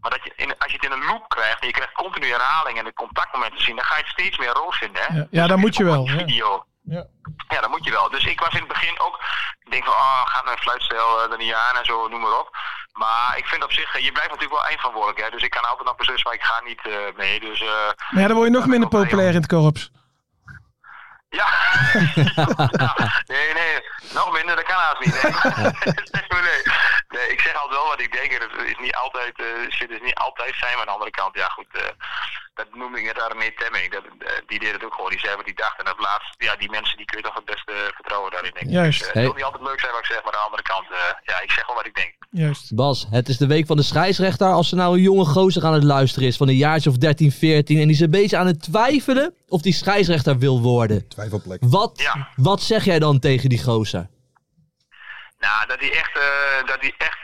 F: Maar dat je in, als je het in een loop krijgt en je krijgt continu herhaling en de contactmomenten zien, dan ga je het steeds meer rood vinden.
E: Ja,
F: Hè?
E: ja,
F: Dus
E: dat
F: is
E: moet je
F: ook
E: wel,
F: een
E: ja.
F: Video.
E: Ja.
F: Ja, dat moet je wel. Dus ik was in het begin ook, ik denk van, oh, gaat mijn fluitstijl eh, er niet aan en zo, noem maar op. Maar ik vind op zich, eh, je blijft natuurlijk wel eindverantwoordelijk, hè. Dus ik kan altijd nog beslissen, maar ik ga niet eh, mee. Dus eh,
E: Maar ja, dan word je nog
F: Ja,
E: minder
F: dat klopt,
E: populair in het korps.
F: Ja. Ja. Nee, nee. Nog minder, dat kan haast niet. Nee, nee. nee ik zeg altijd wel wat ik denk. en Het is niet altijd, eh, shit is niet altijd zijn. Maar aan de andere kant, ja goed. eh, dat noemde ik net Arne Temming. Dat, eh, die deed het ook gewoon. Die zei wat die dacht. En op laatst, ja, die mensen die kun je toch het beste vertrouwen daarin, denk ik.
E: Juist.
F: Eh, het
D: Hey.
F: wil niet altijd leuk zijn wat ik zeg. Maar aan de andere kant, eh, ja, ik zeg gewoon wat ik denk.
E: Juist.
D: Bas, het is de week van de scheidsrechter. Als er nou een jonge gozer aan het luisteren is van een jaartje of 13, 14... en die is een beetje aan het twijfelen of die scheidsrechter wil worden.
C: Twijfelplek.
D: Wat,
F: Ja.
D: wat zeg jij dan tegen die gozer?
F: Nou, dat hij echt, eh, dat hij echt,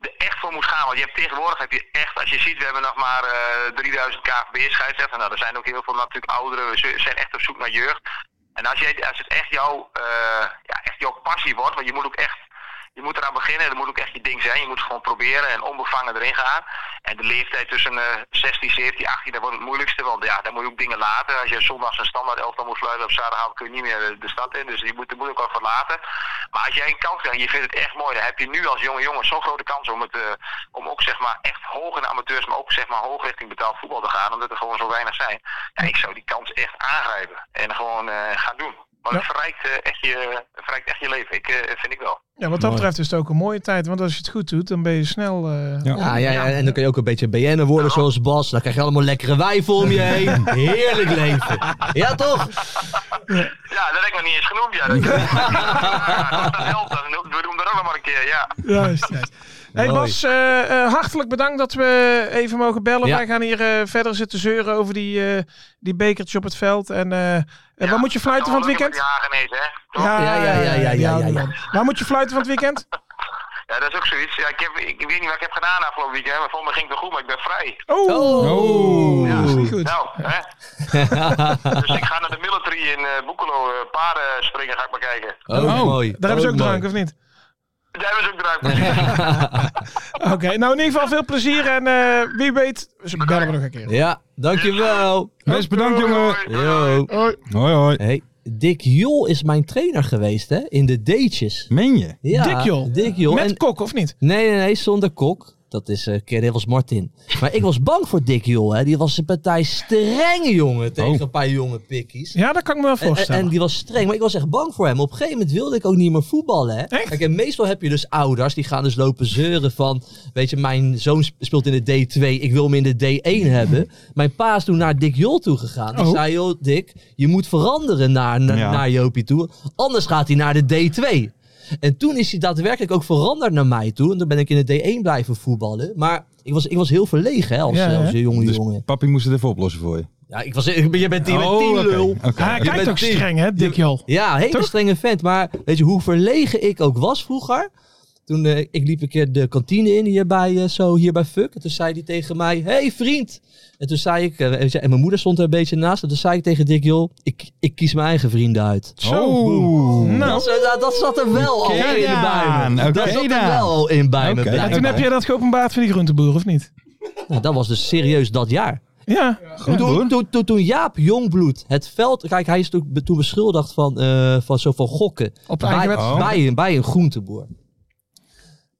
F: er echt voor moet gaan. Want je hebt tegenwoordig heb je echt, als je ziet, we hebben nog maar eh 3000 KVB scheidsrechters. Nou, er zijn ook heel veel natuurlijk ouderen. We z- zijn echt op zoek naar jeugd. En als, jij, als het echt, jou, eh, ja, echt jouw passie wordt, want je moet ook echt je moet eraan beginnen. Dat moet ook echt je ding zijn. Je moet het gewoon proberen en onbevangen erin gaan. En de leeftijd tussen eh 16, 17, 18, dat wordt het moeilijkste. Want ja, dan moet je ook dingen laten. Als je zondags een standaard elftal moet fluiten op zaterdagavond kun je niet meer de- de stad in. Dus je moet, er moet ook wat voor laten. Maar als jij een kans krijgt, en je vindt het echt mooi, dan heb je nu als jonge jongen zo'n grote kans om, het, eh, om ook zeg maar echt hoog in de amateurs, maar ook zeg maar hoog richting betaald voetbal te gaan. Omdat er gewoon zo weinig zijn. Ja, ik zou die kans echt aangrijpen en gewoon eh, gaan doen. Want het, verrijkt, eh, echt je, het verrijkt echt je leven, ik, eh, vind ik wel.
E: Ja, wat dat betreft is het ook een mooie tijd. Want als je het goed doet, dan ben je snel... eh,
C: Ja.
D: Ja, ja, ja, en dan kun je ook een beetje BN'er worden zoals Bas. Dan krijg je allemaal lekkere wijven om je heen. Heerlijk leven. Ja, toch?
F: Ja, dat heb ik nog niet eens genoemd. Ja, dat, dat helpt. dan. We doen dat ook nog maar een keer, ja.
E: Juist, juist. Hey
D: Mooi.
E: Bas, eh, eh, hartelijk bedankt dat we even mogen bellen.
D: Ja.
E: Wij gaan hier eh, verder zitten zeuren over die, eh, die bekertje op het veld. En eh, eh,
F: Ja,
E: waar moet je fluiten van het weekend?
F: Ja, genees, hè? Toch? Ja.
D: Ja, ja, ja, ja, ja,
E: die
D: ja,
E: oude
D: ja.
E: man. Waar moet je fluiten van het weekend?
F: dat is ook zoiets. Ja, ik, heb, ik weet niet wat ik heb gedaan afgelopen weekend, maar volgens mij ging het wel goed, maar ik ben vrij.
E: Oh,
C: Oh.
E: ja, is niet goed.
F: Nou, hè? dus ik ga naar de military in eh Boekelo, eh, paarden springen ga ik maar kijken.
D: Ook mooi.
E: Oh, Daar hebben ze ook
D: mooi.
E: drank, of niet?
F: Daar hebben ze ook draai precies.
E: Oké, nou in ieder geval veel plezier en eh, wie weet, ze bellen we nog een keer.
D: Ja, dankjewel.
C: Best bedankt, jongen.
D: Yo.
C: Hoi, hoi.
D: Hey, Dick Jol is mijn trainer geweest, hè? In de datejes.
C: Meen je?
D: Ja,
E: Dick Jol.
D: Dick Jol.
E: Met
D: En-
E: kok, of niet?
D: Nee, nee, nee, zonder kok. Dat is eh keer dat was Martin. Maar ik was bang voor Dick Jol, hè? Die was een partij strenge
E: Oh.
D: jongen tegen een paar jonge pikkies.
E: Ja, dat kan ik me wel
D: En, en-
E: voorstellen.
D: en die was streng, maar ik was echt bang voor hem. Op een gegeven moment wilde ik ook niet meer voetballen. Hè?
E: Echt?
D: Kijk, en meestal heb je dus ouders die gaan dus lopen zeuren van... Weet je, mijn zoon sp- speelt in de D2, ik wil hem in de D1 hebben. Mijn pa is toen naar Dick Jol toe gegaan. Die
E: Oh.
D: zei, joh Dick, je moet veranderen naar, na-
C: Ja.
D: naar Jopie toe. Anders gaat hij naar de D2. En toen is hij daadwerkelijk ook veranderd naar mij toe. En toen ben ik in de D1 blijven voetballen. Maar ik was, ik was heel verlegen hè, als,
E: Ja,
D: eh, als
E: hè?
D: jonge
C: Dus
D: jongen.
C: papi moest het even oplossen voor je.
D: Ja, ik was, ik, ben- je bent die met
C: Oh,
D: 10
C: oké.
D: lul.
C: Oké.
E: Ja, hij
D: Je
E: kijkt
D: bent
E: ook
D: diep.
E: streng, hè, Dick Jol.
D: Ja, hele
E: Toch?
D: strenge vent. Maar weet je hoe verlegen ik ook was vroeger? Toen eh, ik liep een keer de kantine in hier bij, eh, zo, hier bij Fuck. En toen zei hij tegen mij, hey vriend. En toen zei ik, eh, weet je, en mijn moeder stond er een beetje naast. En toen zei ik tegen Dick, joh, ik, ik kies mijn eigen vrienden uit.
C: Oh.
E: Nou,
D: Dat, eh, dat, dat zat er wel al in
C: Oké
D: bij
C: dan,
D: me.
C: oké
D: dat zat er
C: dan.
D: wel al in bij me.
C: Oké.
E: en
D: blijkbaar.
E: toen heb jij dat geopenbaard van die groenteboer, of niet?
D: Nou, dat was dus serieus dat jaar.
E: Ja.
C: Goed
D: Toen,
C: hoor.
D: toen, toen, toen Jaap Jongbloed het veld... Kijk, hij is toen, toen beschuldigd van, eh van zoveel gokken.
E: Op
D: bij,
E: eigen
C: wedstrijd.
D: bij, een, bij een groenteboer.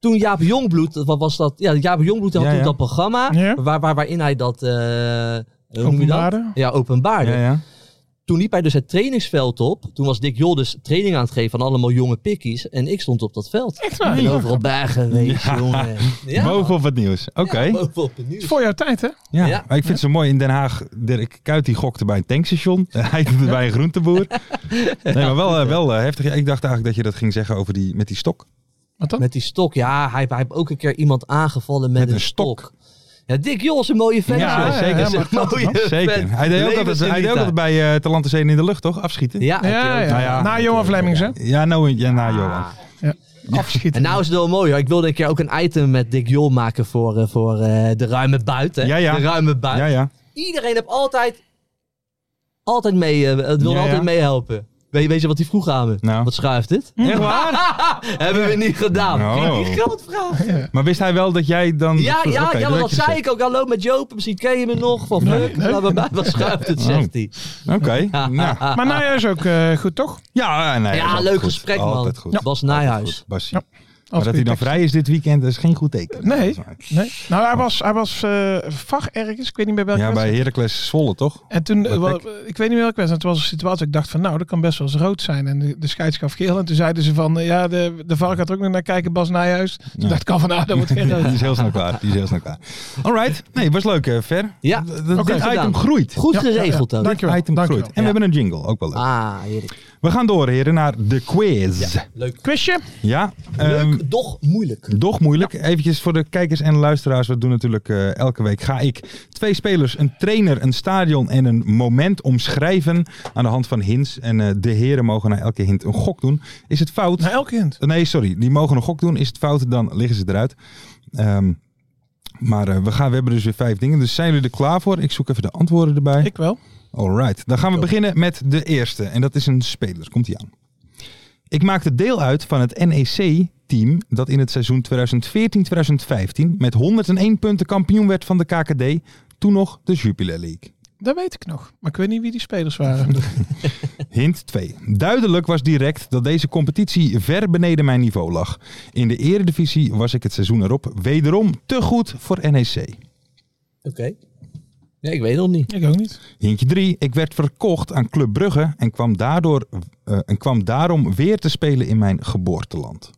D: Toen Jaap Jongbloed, wat was dat? Ja, Jaap Jongbloed had
C: Ja,
D: toen
C: ja.
D: dat programma
E: Ja.
D: waar, waar, waarin hij dat... eh, hoe noem je
E: Openbaarde.
D: Dat? Ja, openbaarde.
C: Ja, ja.
D: Toen liep hij dus het trainingsveld op. Toen was Dick Jol dus training aan het geven aan allemaal jonge pikkies. En ik stond op dat veld.
E: Echt waar?
D: Ik ben overal bij geweest, jongen. Ja,
C: Bovenop het nieuws. Oké.
D: man. Bovenop het
E: Het
D: nieuws.
E: is voor jouw tijd, hè?
C: Ja,
D: Ja.
C: maar ik vind het zo mooi. In Den Haag, Dirk Kuyt die gokte bij een tankstation. Hij doet het bij een groenteboer. Nee, maar wel, eh, wel eh, heftig. Ja, Ik dacht eigenlijk dat je dat ging zeggen over die, met die stok.
E: Wat dan?
D: Met die stok, ja. Hij, hij heeft ook een keer iemand aangevallen met,
C: een
D: een stok. Ja, Dick Jol is een mooie vent.
C: Ja,
D: joh.
C: zeker.
D: Dat is een mooie
C: Zeker.
D: vent.
C: Hij deed ook altijd, hij
D: Levensgenieten.
C: deed ook altijd bij eh Talante Zee in de lucht, toch? Afschieten?
D: Ja, heb je
E: Ja,
D: ook.
E: ja.
C: Nou ja.
E: Na Johan Flemings, hè?
C: Ja, nou, ja, na Johan.
E: Afschieten.
D: En nou is het wel mooi hoor. Ik wilde een keer ook een item met Dick Jol maken voor, eh, voor eh, de ruime buiten.
C: Ja, ja.
D: De ruime buiten.
C: Ja, ja.
D: Iedereen heeft altijd, altijd mee, eh, het wil
C: Ja, ja.
D: altijd meehelpen. Weet, weet je wat hij vroeg aan me?
C: Nou.
D: Wat schuift dit?
C: Echt waar?
D: Hebben we niet gedaan.
C: Oh.
D: Vind ik Niet groot vraag.
C: Maar wist hij wel dat jij dan...
D: Ja, ja,
C: Oké,
D: ja, want dat
C: had je
D: zei ik ook. Hallo met Joop, misschien ken je me nog. Van fuck, bla, bla, bla. wat schuift
C: Oh.
D: het, zegt hij.
C: gezegd. Oké. nou.
E: Maar nou is ook eh, goed, toch?
C: Ja, eh, nee, dat is
D: Ja,
C: altijd
D: leuk
C: goed.
D: gesprek man.
C: Altijd goed.
D: Bas
C: Goed,
D: Nijhuis.
C: Basie.
E: Ja.
C: Maar dat hij dan vrij is dit weekend, dat is geen goed teken.
E: Nee. Nee. Nou, hij was, hij was eh vag ergens. Ik weet niet meer welke
C: Ja, bij
E: wedstrijd.
C: Heracles Zwolle, toch?
E: En toen, eh,
C: Wat
E: wel- ik weet niet meer welke wedstrijd. Het was een situatie. Ik dacht van, nou, dat kan best wel eens rood zijn. En de, de scheids gaf geel. En toen zeiden ze van, eh, ja, de, de VAR gaat er ook nog naar kijken, Bas Nijhuis. Toen
C: Ja.
E: dacht ik al van, nou, dat wordt geen
C: Ja, die
E: rood.
C: is heel snel klaar. Die is heel snel klaar. Alright. Nee, was leuk, eh, Fer.
D: Ja,
C: D- d-
D: oké,
C: dit item
D: gedaan.
C: groeit.
D: Goed
E: Ja, ja, ja.
D: geregeld ook.
C: Dit
E: Dankjewel,
C: item
E: dankjewel.
C: groeit. En we hebben een jingle, ook wel leuk.
D: Ah, heerlijk.
C: We gaan door, heren, naar de quiz. Ja,
D: Leuk.
E: Quizje?
C: ehm,
D: Leuk, doch moeilijk.
C: Doch moeilijk. Eventjes voor de kijkers en luisteraars. We doen natuurlijk eh, elke week. Ga ik twee spelers, een trainer, een stadion en een moment omschrijven. Aan de hand van hints. En eh, de heren mogen na elke hint een gok doen. Is het fout?
E: Nou, elk kind.
C: Nee, sorry. Die mogen een gok doen. Is het fout, dan liggen ze eruit. Ehm, maar eh, we, gaan, we hebben dus weer vijf dingen. Dus zijn jullie er klaar voor? Ik zoek even de antwoorden erbij.
E: Ik wel.
C: Alright. Dan gaan we beginnen met de eerste. En dat is een speler. Komt hij aan. Ik maakte deel uit van het NEC-team dat in het seizoen 2014-2015 met 101 punten kampioen werd van de KKD, toen nog de Jupiler League.
E: Dat weet ik nog. Maar ik weet niet wie die spelers waren.
C: Hint 2. Duidelijk was direct dat deze competitie ver beneden mijn niveau lag. In de eredivisie was ik het seizoen erop wederom te goed voor E NEC.
D: Oké. Nee, ik weet het nog niet.
E: ik ook niet.
C: Hintje 3. Ik werd verkocht aan Club Brugge en kwam, daardoor, eh, en kwam daarom weer te spelen in mijn geboorteland.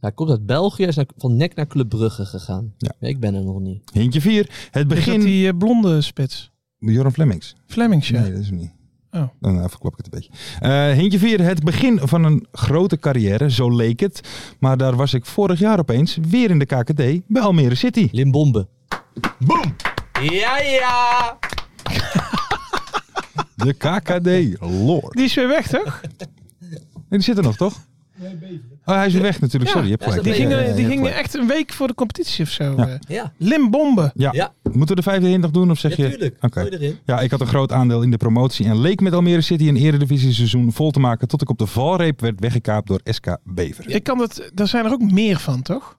D: Hij komt uit België, hij is naar- van Nek naar Club Brugge gegaan.
C: Ja.
D: Nee, ik ben er nog niet.
C: Hintje 4. Het
E: Is dat
C: begin...
E: die eh, blonde spits?
C: Joran Flemings.
E: Flemings, ja.
C: Nee, dat is hem niet.
E: Oh.
C: Dan eh, verklap ik het een beetje. Eh hintje 4. Het begin van een grote carrière, zo leek het. Maar daar was ik vorig jaar opeens weer in de KKD bij Almere City.
D: Limbombe. Boom! Ja, ja!
C: De KKD, lord.
E: Die is weer weg, toch?
C: Nee, die zit er nog, toch? Oh, hij is weer weg natuurlijk.
E: Ja,
C: Sorry, je hebt
D: hij is
C: gelijk.
E: Die
D: Ja, ja,
E: gingen,
C: Ja, je
E: die
C: hebt
E: gingen
C: gelijk.
E: echt een week voor de competitie of zo.
C: Ja.
E: eh.
D: Ja,
E: Limbombe.
C: Ja.
D: Ja.
C: Moeten we de vijfde hint nog doen of zeg je...
D: natuurlijk.
C: Oké.
D: Gooi erin.
C: Ja, ik had een groot aandeel in de promotie en leek met Almere City een eredivisie-seizoen vol te maken tot ik op de valreep werd weggekaapt door SK Bever.
E: Ik kan dat, daar zijn er ook meer van, toch?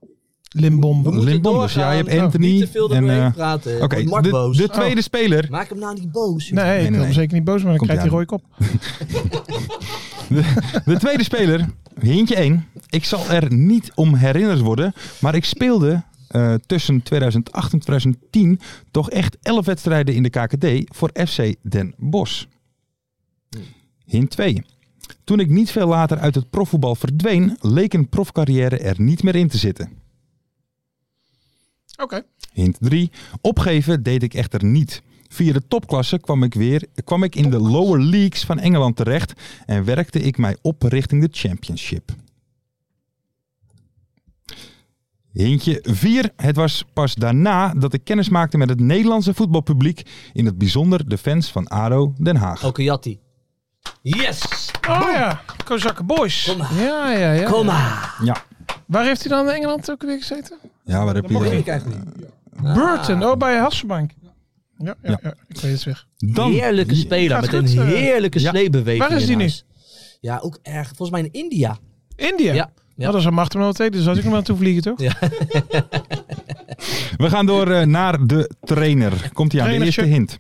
E: Limbombe.
D: moeten
C: Limbombers, ja, je
D: doorgaan.
C: hebt Anthony
D: Niet te veel
C: en,
D: eroverheen
C: eh,
D: praten.
C: Oké,
D: Wordt Mark
C: de,
D: boos.
C: de tweede speler.
D: Maak hem nou niet boos. joh.
E: Nee, ik
C: nee,
E: wil hem
C: nee.
E: zeker niet boos, maar dan
C: Komt
E: krijgt hij
C: ie
E: rode kop.
C: De tweede speler, hintje 1. Ik zal er niet om herinnerd worden, maar ik speelde eh, tussen 2008 en 2010 toch echt 11 wedstrijden in de KKD voor FC Den Bosch. Hint 2. Toen ik niet veel later uit het profvoetbal verdween, leek een profcarrière er niet meer in te zitten.
E: Oké.
C: Hint 3. Opgeven deed ik echter niet. Via de topklasse kwam ik, weer, kwam ik in de lower leagues van Engeland terecht en werkte ik mij op richting de championship. Hintje 4. Het was pas daarna dat ik kennis maakte met het Nederlandse voetbalpubliek, in het bijzonder de fans van ADO Den Haag.
D: Elke Jatti. Yes!
E: Oh ja, Kozakken Boys.
D: Kom maar.
E: Ja, ja, ja.
D: Kom maar!
C: Ja,
E: Waar heeft hij dan in Engeland ook weer gezeten?
C: ja waar heb je
D: Mocht
C: dan?
D: ik eigenlijk niet.
E: Burton, oh bij Hasselbank. Ja, ja,
C: Ja.
E: ja. ik weet het weer.
C: Dan-
D: heerlijke speler
E: Gaat
D: met
E: goed,
D: een
E: eh.
D: heerlijke
C: Ja.
D: sleebeweging.
E: Waar is
D: in
E: die nu?
D: huis. Ja, ook erg. Volgens mij in India.
E: India.
D: Ja.
E: Ja.
D: ja.
E: dat is een Martin wel tegen, dus als ik hem aan toe vliegen, toch?
D: Ja.
C: We gaan door eh, naar de trainer. Komt hij aan de
E: Trainertje.
C: eerste hint.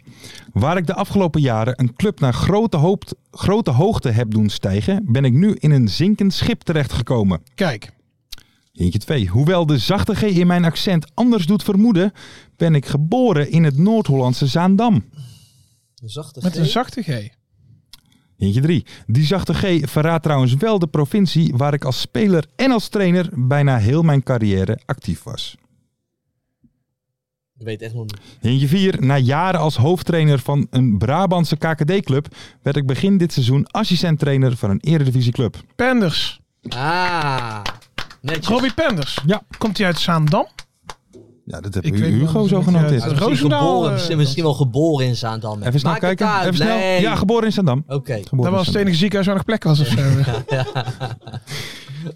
C: Waar ik de afgelopen jaren een club naar grote, hoop, grote hoogte heb doen stijgen, ben ik nu in een zinkend schip terechtgekomen.
E: Kijk,
C: Hintje 2. Hoewel de zachte G in mijn accent anders doet vermoeden, ben ik geboren in het Noord-Hollandse Zaandam.
D: Een zachte
E: met
D: G.
E: een zachte G.
C: Hintje 3. Die zachte G verraadt trouwens wel de provincie waar ik als speler en als trainer bijna heel mijn carrière actief was.
D: Ik weet echt nog niet.
C: Hintje 4. Na jaren als hoofdtrainer van een Brabantse KKD-club werd ik begin dit seizoen assistent-trainer van een eredivisieclub.
E: Penders.
D: Ah! Netjes.
E: Robbie Penders.
C: Ja.
E: Komt hij uit Zaandam?
C: Ja, dat heb
E: Ik
C: u-
E: weet
C: Hugo
E: wel,
C: zo
E: ja,
C: genoteerd.
D: Hij is
C: Even
D: misschien
E: Roosendaal,
D: geboren-
E: eh,
D: misschien, misschien wel geboren in Zaandam. hè.
C: snel
D: Maakt het
C: kijken.
D: uit,
C: Even snel.
D: nee.
C: Ja, geboren in Zandam.
D: Oké.
E: Dat was het enige ziekenhuis waar nog plek was of zo.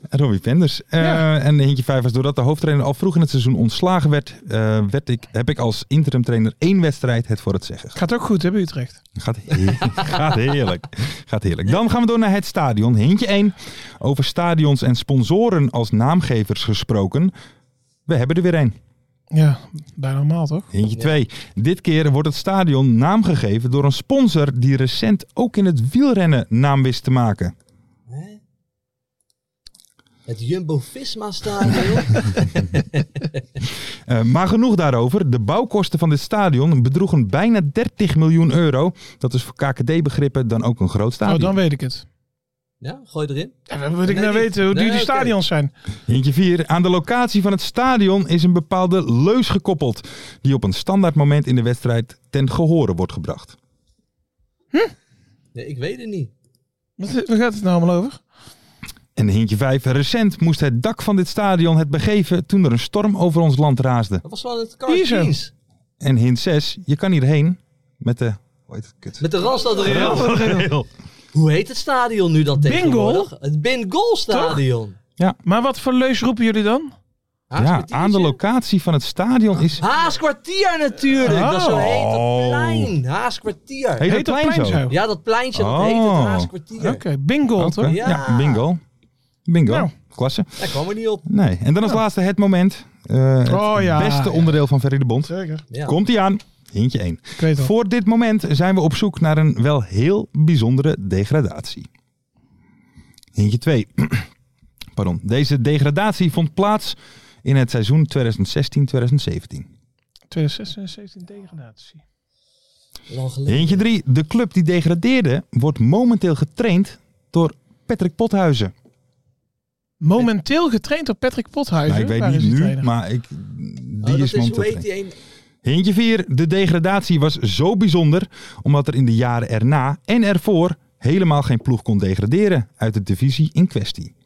C: Robbie Penders. Eh,
E: Ja.
C: En hintje 5 was doordat de hoofdtrainer al vroeg in het seizoen ontslagen werd, eh, werd ik, heb ik als interim-trainer één wedstrijd het voor het zeggen.
E: Gaat ook goed, hè, bij Utrecht?
C: Gaat, he- gaat heerlijk. Gaat heerlijk. Dan gaan we door naar het stadion. Hintje 1. Over stadions en sponsoren als naamgevers gesproken. We hebben er weer een.
E: Ja, bijna normaal, toch?
C: Hintje 2. Dit keer wordt het stadion naam gegeven door een sponsor die recent ook in het wielrennen naam wist te maken.
D: Hè? Het Jumbo-Visma-stadion.
C: Eh, maar genoeg daarover. De bouwkosten van dit stadion bedroegen bijna 30 miljoen euro. Dat is voor KKD-begrippen dan ook een groot
E: Oh,
C: stadion.
E: dan weet ik het.
D: ja, gooi erin.
E: Ja, wat moet ik
D: Nee,
E: nou
D: niet.
E: weten hoe
D: Nee,
E: duur die
D: oké.
E: stadions zijn?
C: Hintje 4. Aan de locatie van het stadion is een bepaalde leus gekoppeld. Die op een standaard moment in de wedstrijd ten gehore wordt gebracht.
D: Nee, ik weet het niet.
E: Wat, waar gaat het nou allemaal over?
C: En hintje 5. Recent moest het dak van dit stadion het begeven toen er een storm over ons land raasde.
D: Dat was wel het
E: Hier zo.
D: Cartoons.
C: En hint 6, je kan hierheen met de... Hoe heet het? Kut.
D: Met de Randstad erin. Hoe heet het stadion nu dan tegenwoordig? Het Bingol-stadion.
E: Maar wat voor leus roepen jullie dan?
C: Ja, aan de locatie van het stadion
D: Ah,
C: is...
D: Haaskwartier natuurlijk. Dat is zo heet dat
C: Oh.
D: plein. Haaskwartier.
C: Heet het
E: dat
C: plein zo?
D: Ja, dat pleintje dat heet het
C: Oh.
D: Haaskwartier.
E: Oké, bingo,
C: Oké,
E: toch?
D: Ja.
C: Ja, bingo. Bingo.
E: Nou.
C: Klasse.
D: Daar kwam er niet op.
C: Nee. En dan als laatste het moment. Eh, het
E: Oh, ja.
C: beste onderdeel van Ferry de Bond.
E: Zeker.
D: Ja.
C: Komt-ie aan. Hintje 1.
E: Ik weet het al.
C: Voor dit moment zijn we op zoek naar een wel heel bijzondere degradatie. Hintje 2. Pardon. Deze degradatie vond plaats in het seizoen 2016-2017.
E: 2016 17 degradatie.
D: Lang geleden.
C: Hintje 3. De club die degradeerde wordt momenteel getraind door Patrick Pothuizen.
E: Momenteel getraind door Patrick Pothuizen.
C: Nou, ik weet
E: Waar
C: niet
E: is die
C: nu,
E: trainer?
C: maar ik,
D: Oh,
C: die
D: dat
C: is
D: is,
C: momenteel
D: hoe heet
C: getraind.
D: die een?
C: Hintje 4. De degradatie was zo bijzonder omdat er in de jaren erna en ervoor helemaal geen ploeg kon degraderen uit de divisie in kwestie.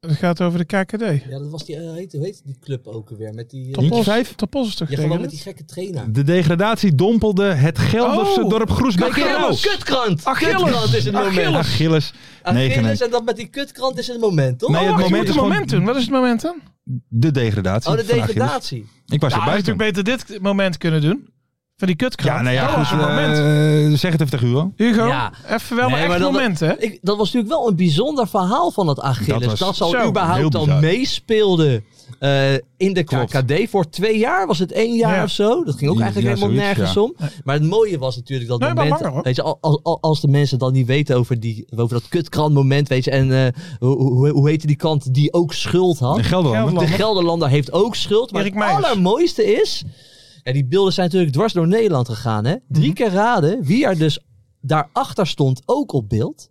E: Het gaat over de KKD.
D: Ja, dat was die, eh, hoe heet, hoe heet die club ook weer? Met die, eh,
C: Top.
E: Topos,
C: vijf?
E: Topos is toch
D: ja,
E: tegen
D: gewoon met
E: dit?
D: die gekke trainer.
C: De degradatie dompelde het Gelderse
E: Oh,
C: dorp Groesbeek in rouw.
D: kutkrant!
E: Achilles.
D: Kutkrant is het moment.
C: Achilles. Nee,
D: Achilles
C: nee.
D: en dat met die kutkrant is het moment, toch?
C: Nee,
E: Oh,
C: het
E: wacht,
C: moment
E: je moet
C: is
E: het
C: gewoon-
E: moment doen. Wat is het moment dan?
C: De degradatie.
D: oh, de
C: van Achilles.
D: degradatie.
C: Ik was erbij
E: Ja, hij had
C: toen.
E: natuurlijk beter dit moment kunnen doen. Van die kutkrant.
C: Ja, nou ja,
E: dat was
C: goed.
E: een moment. Oh,
C: eh, zeg het even tegen Hugo.
E: Hugo,
D: Ja.
E: even wel
D: Nee,
E: een
D: maar
E: echt
D: dan-
E: moment, hè?
D: Ik, dat was natuurlijk wel een bijzonder verhaal van het Achilles. Dat,
C: Dat was
D: zal
E: zo,
C: heel
D: überhaupt al
C: bizar.
D: meespeelde eh, in de
C: Klopt.
D: KKD. Voor twee jaar was het één jaar
E: Ja.
D: of zo. Dat ging ook
C: Ja,
D: eigenlijk
C: ja,
D: helemaal
C: zoiets,
D: nergens
C: ja.
D: om. Maar het mooie was natuurlijk dat
E: Nee, maar
D: moment.
E: langer, hoor.
D: weet je, al- al- al- als de mensen dan niet weten over, die, over dat kutkrantmoment. Weet je, en eh, hoe, hoe, hoe heette die kant die ook schuld had?
C: In Gelderland.
E: Gelderland.
D: De Gelderlander heeft ook schuld. Maar
E: Erik
D: het
E: Meijers.
D: allermooiste is... Ja, die beelden zijn natuurlijk dwars door Nederland gegaan. Hè? Drie
C: Mhm.
D: keer raden wie er dus daarachter stond ook op beeld.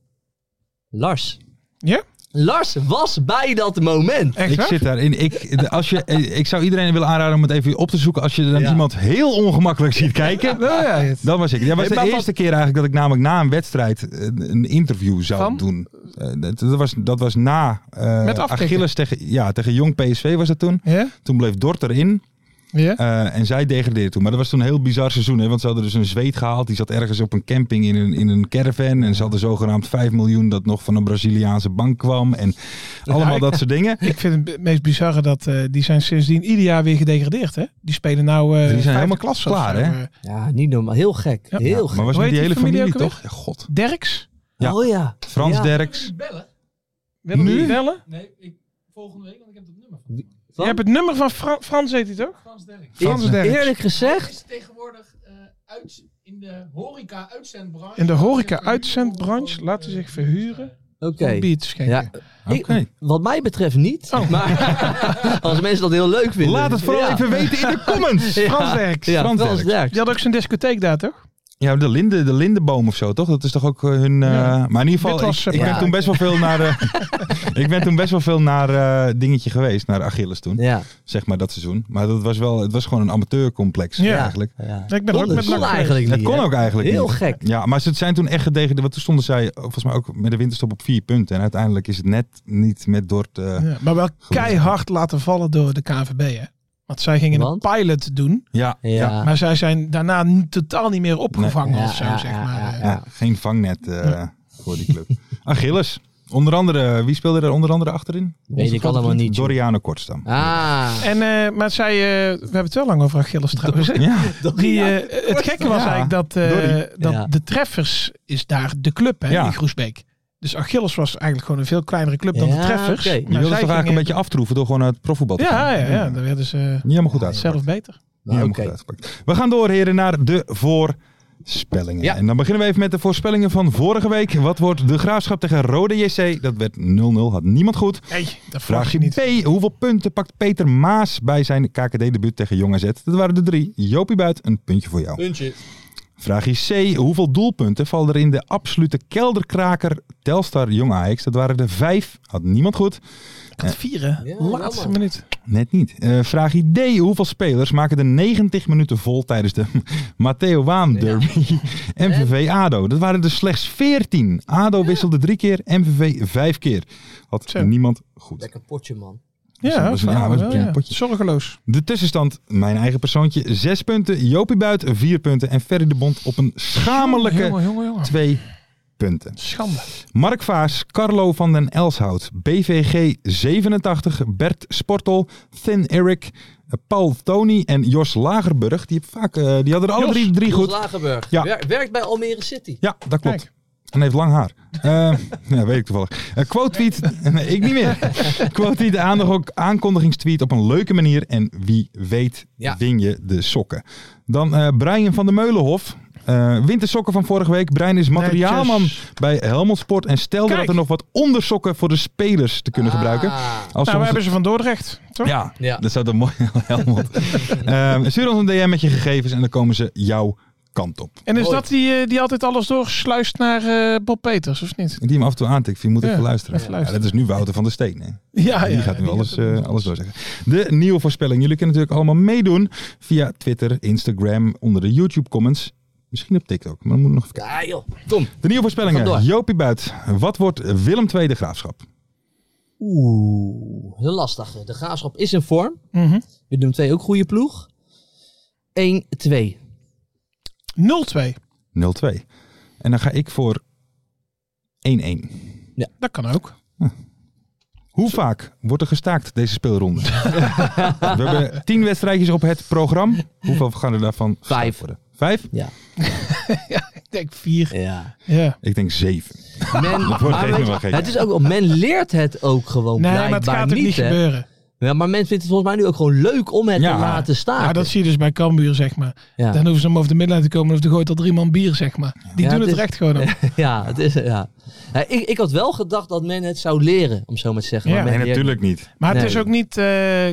D: Lars.
E: Ja?
D: Lars was bij dat moment.
E: Echt
C: Ik
E: waar?
C: zit daarin. Ik, de- als je, eh, ik zou iedereen willen aanraden om het even op te zoeken. Als je dan
D: Ja.
C: iemand heel ongemakkelijk ziet kijken.
E: Nou ja, het-
C: Dat was ik. Dat was
E: Nee,
C: de
E: maar wat-
C: eerste keer eigenlijk dat ik namelijk na een wedstrijd eh, een interview zou
E: Van?
C: doen. Eh, dat, dat was, dat was na eh,
E: Met afkikken.
C: Achilles tegen, ja, tegen Jong PSV was dat toen.
E: Ja?
C: Toen bleef Dort erin.
E: Ja?
C: Eh, en zij degradeerde toen. Maar dat was toen een heel bizar seizoen. Hè? Want ze hadden dus een zweet gehaald. Die zat ergens op een camping in een, in een caravan. En ze hadden zogenaamd 5 miljoen dat nog van een Braziliaanse bank kwam. En allemaal dat soort dingen.
E: Ik vind het meest bizarre dat eh, die zijn sindsdien ieder jaar weer gedegradeerd, hè? Die spelen nou eh
C: Die zijn
E: vijfde
C: helemaal
E: klasse
C: klaar,
E: of zo.
C: hè?
E: Eh,
D: Ja, niet normaal. Heel gek.
E: Ja.
D: Heel
C: Maar
D: gek.
C: was
E: Hoe
C: met
E: heet
C: die hele
E: die familie
C: familie,
E: ook
C: toch? Ja, god.
E: Derks?
C: Ja.
D: Oh ja.
C: Frans
D: Ja.
C: Derks.
E: Willen we
C: Nu?
E: die bellen? Je hebt het nummer van Fra- Frans, heet hij toch? Frans
C: Frans
E: Derks.
D: Eerlijk gezegd.
E: In de horeca-uitzendbranche laat hij zich verhuren
D: Oké.
E: om bier te schenken.
D: Ja, ik-
C: Oké. Oh.
D: wat mij betreft niet. Maar als mensen dat heel leuk vinden.
C: Laat het vooral
D: Ja.
C: even weten in de comments.
D: Ja.
E: Frans Derks.
D: Ja,
C: Frans
D: Frans
C: Derks.
D: Derks.
E: Die had ook zijn discotheek daar, toch?
C: Ja, de, linde, de lindenboom of zo, toch? Dat is toch ook eh, hun... eh,
E: Ja.
C: Maar in ieder geval,
E: Dit was,
C: ik,
E: eh,
C: ik ben
D: ja.
C: toen best wel veel naar... eh, ik ben toen best wel veel naar eh, dingetje geweest, naar Achilles toen.
D: Ja.
C: Zeg maar dat seizoen. Maar dat was wel, het was gewoon een amateurcomplex
E: Ja.
C: eigenlijk.
D: ja.
E: Ik ben er ook
D: Kon-
E: met
D: kon
E: NAC geweest.
D: eigenlijk niet.
C: Het kon
D: hè?
C: ook eigenlijk
D: Heel
C: niet.
D: gek.
C: Ja, maar ze zijn toen echt gedegradeerd. Want toen stonden zij eh, volgens mij ook met de winterstop op vier punten. En uiteindelijk is het net niet met Dort. eh, ja.
E: Ja, maar wel keihard laten vallen door de KNVB, hè? Want zij gingen
D: Want?
E: een pilot doen,
C: Ja,
D: Ja.
E: maar zij zijn daarna n- totaal niet meer opgevangen
D: Nee.
E: of zo,
D: Ja, ja,
E: zeg
D: ja,
E: maar.
D: ja,
E: Eh,
D: ja.
C: geen vangnet eh, voor die club. Achilles. Onder andere, wie speelde er onder andere achterin?
D: Weet
C: Onze
D: ik allemaal
C: grote vriend
D: niet, joh.
C: Doriano Kortstam.
D: Ah.
E: En, eh, maar zij, eh, we hebben het wel lang over Achilles trouwens. hè?
C: Ja.
E: Die, eh, het gekke was
C: Ja.
E: eigenlijk dat, eh,
C: Dorrie.
E: dat
D: Ja.
E: de Treffers is daar de club hè,
C: Ja.
E: in Groesbeek. Dus Achilles was eigenlijk gewoon een veel kleinere club dan de
D: Ja,
E: Treffers.
D: oké. Je
E: Maar
C: Je wilde
E: zij
C: toch eigenlijk een
E: gingen-
C: beetje aftroeven door gewoon uit het profvoetbal te
E: Ja,
C: gaan?
E: ja, ja, dan werden ze eh,
C: Niet helemaal goed uitgepakt.
E: zelf beter.
C: Niet helemaal
D: Nou, Oké.
C: goed uitgepakt. We gaan door, heren, naar de voorspellingen.
D: Ja.
C: En dan beginnen we even met de voorspellingen van vorige week. Wat wordt de graafschap tegen Rode JC? Dat werd 0-0, had niemand goed.
E: Nee, dat vraag
C: Vraagje
E: je niet.
C: B. Hoeveel punten pakt Peter Maas bij zijn KKD-debuut tegen Jong AZ? Dat waren de drie. Jopie Buit, een puntje voor jou.
D: Puntje.
C: Vraagje C. Hoeveel doelpunten vallen er in de absolute kelderkraker Telstar Jong Ajax? Dat waren er vijf. Had niemand goed.
E: Ik had vier, hè?
D: Ja,
E: Laatste
D: Oh, jammer.
E: minuut.
C: Net niet. Eh vraag D. Hoeveel spelers maken de 90 minuten vol tijdens de Matteo Waan derby? MVV ADO. Dat waren er slechts 14. ADO wisselde drie keer, MVV vijf keer. Had
E: Zo.
C: niemand goed.
D: Lekker potje, man.
E: Ja,
C: dat is een- ja, dat
E: vader
C: is een
E: wel,
C: prima potje.
E: Zorgeloos.
C: De tussenstand, mijn eigen persoontje, 6 punten. Jopie Buit, 4 punten. En Ferry de Bond op een schamelijke
E: Oh, Jongen, jongen, jongen.
C: 2 punten.
E: Schande.
C: Mark Vaas, Carlo van den Elshout, BVG 87, Bert Sportel, Thin Eric, Paul Tony en Jos Lagerburg. Die, heb vaak, eh, die hadden er alle
E: Jos,
C: drie, drie
D: Jos
C: goed.
D: Lagerburg.
C: Ja.
D: Wer- werkt bij Almere City.
C: Ja, dat klopt.
E: Kijk.
C: En heeft lang haar. Eh, ja, weet ik toevallig. Eh quote tweet. Nee, ik niet meer. quote tweet aandacht ook aankondigingstweet op een leuke manier. En wie weet
D: Ja.
C: win je de sokken. Dan eh, Brian van der Meulenhof. Eh wint de sokken van vorige week. Brian is materiaalman
E: Netjes. Nou,
C: bij Helmond Sport. En stelde
E: Kijk.
C: dat er nog wat ondersokken voor de spelers te kunnen gebruiken.
D: Ah.
C: Als
E: Nou, we
C: soms-
E: hebben ze van Dordrecht, toch?
C: ja,
D: Ja.
C: dat zou dan mooi Helmond. Ehm, stuur ons een DM met je gegevens en dan komen ze jouw kant op.
E: En is
D: Mooi.
E: dat die, eh, die altijd alles doorsluist naar eh, Bob Peters, of niet?
C: Die hem af en toe aantikt. Je moet
E: Ja,
C: even luisteren.
E: even luisteren. Ah,
C: Ja, dat is nu Wouter van der Steen. Hè?
E: Ja,
C: die gaat nu alles,
E: gaat-
C: eh, alles doorzeggen. De nieuwe voorspelling. Jullie kunnen natuurlijk allemaal meedoen via Twitter, Instagram, onder de YouTube comments. Misschien op TikTok, maar dan moet ik nog even kijken.
D: Ja, joh. Tom.
C: De nieuwe voorspellingen.
D: Vandoor.
C: Jopie Buit. Wat wordt Willem II de graafschap?
D: Oeh, heel lastig. De graafschap is in vorm.
E: Mhm.
D: Willem 2 ook goede ploeg. 1-2.
E: 0-2.
C: 0-2. En dan ga ik voor 1-1.
E: Dat kan ook.
C: Hoe vaak wordt er gestaakt deze speelronde? We hebben tien wedstrijdjes op het programma. Hoeveel gaan er daarvan gestaakt
D: Vijf.
C: worden? Vijf?
E: Ik denk 4.
D: Ja.
E: Ja.
C: Ik denk zeven.
D: Men,
C: wordt
D: maar
C: helemaal
D: weet je,
C: gek.
D: het is ook, men leert het ook gewoon
E: Nee, maar het
D: blijkbaar
E: gaat ook
D: niet.
E: niet,
D: hè.
E: gebeuren.
D: Ja, maar men vindt het volgens mij nu ook gewoon leuk om het
C: Ja.
D: te laten staan.
E: Ja, dat zie je dus bij Cambuur, zeg maar.
D: ja.
E: Dan hoeven ze om over de middenlijn te komen of er gooit al drie man bier, zeg maar. Die
D: Ja,
E: doen
D: het
E: het,
D: is-
E: recht gewoon op.
D: Ja, het is, ja. Ja, ik, ik had wel gedacht dat men het zou leren, om zo maar te zeggen.
E: Ja.
D: Maar men
C: Nee,
D: leert-
C: natuurlijk niet.
E: Maar het
D: Nee.
E: is ook niet... eh,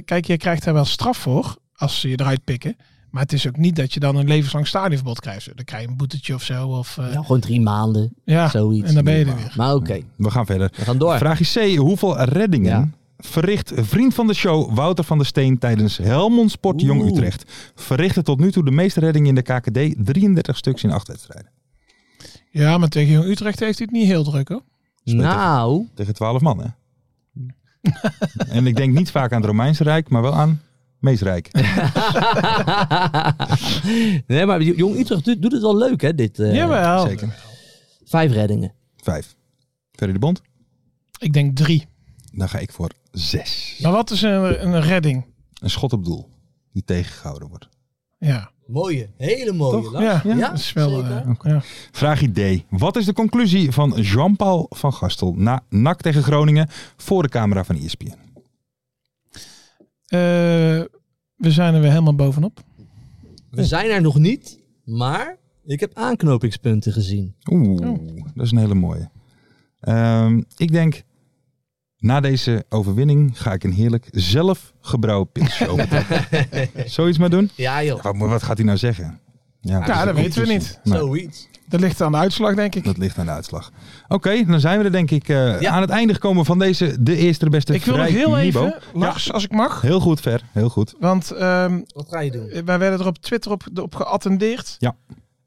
E: kijk, je krijgt daar wel straf voor als ze je eruit pikken. Maar het is ook niet dat je dan een levenslang stadionverbod krijgt. Dan krijg je een boetetje of zo. Of, eh,
D: Ja, "Nou, gewoon drie maanden,
E: ja,
D: zoiets.
E: en dan ben je er weer.
D: Maar oké,
C: We gaan verder.
D: we gaan door.
C: Vraagje C. Hoeveel reddingen
D: Ja.
C: verricht vriend van de show Wouter van der Steen tijdens Helmond Sport Jong
D: Oeh.
C: Utrecht? Verrichtte tot nu toe de meeste reddingen in de KKD. 33 stuks in acht wedstrijden.
E: Ja, maar tegen Jong Utrecht heeft hij het niet heel druk, hoor.
D: Nou,
C: Tegen 12 man, hè? en ik denk niet vaak aan het Romeinse Rijk, maar wel aan Meesrijk.
D: nee, maar Jong Utrecht doet, doet het wel leuk, hè? Dit, eh,
E: Jawel.
C: Zeker.
D: Vijf reddingen.
C: Vijf. Ferry de Bond.
E: Ik denk drie.
C: Dan ga ik voor zes.
E: Maar wat is een, een redding?
C: Een schot op doel. Die tegengehouden wordt.
E: Ja,
D: Mooie, hele mooie. Lars.
E: ja,
C: Ja,
E: dat is wel...
D: zeker.
E: eh, ja.
C: Vraag D. Wat is de conclusie van Jean-Paul van Gastel na NAC tegen Groningen voor de camera van E ESPN?
E: Eh, we zijn er weer helemaal bovenop.
D: We zijn er nog niet, maar ik heb aanknopingspunten gezien.
C: Oeh, dat is een hele mooie. Ehm, ik denk, na deze overwinning ga ik een heerlijk zelfgebrouwen pilsje opentrekken. Zoiets maar doen?
D: Ja joh,
C: Wat, wat gaat hij nou zeggen? Ja,
E: dat
C: is ook
E: weten we
C: tussen.
E: niet.
C: Nee,
D: zoiets.
E: Dat ligt aan de uitslag, denk ik.
C: dat ligt aan de uitslag. Oké, dan zijn we er denk ik eh,
D: Ja.
C: aan het einde gekomen van deze de eerste de beste
E: Ik wil nog
C: Vrij
E: heel
C: Nibo.
E: even, Lars, als ik mag.
C: Heel goed, Ver. Heel goed.
E: Want ehm,
D: Wat ga je doen?
E: wij werden er op Twitter op, op geattendeerd.
C: Ja.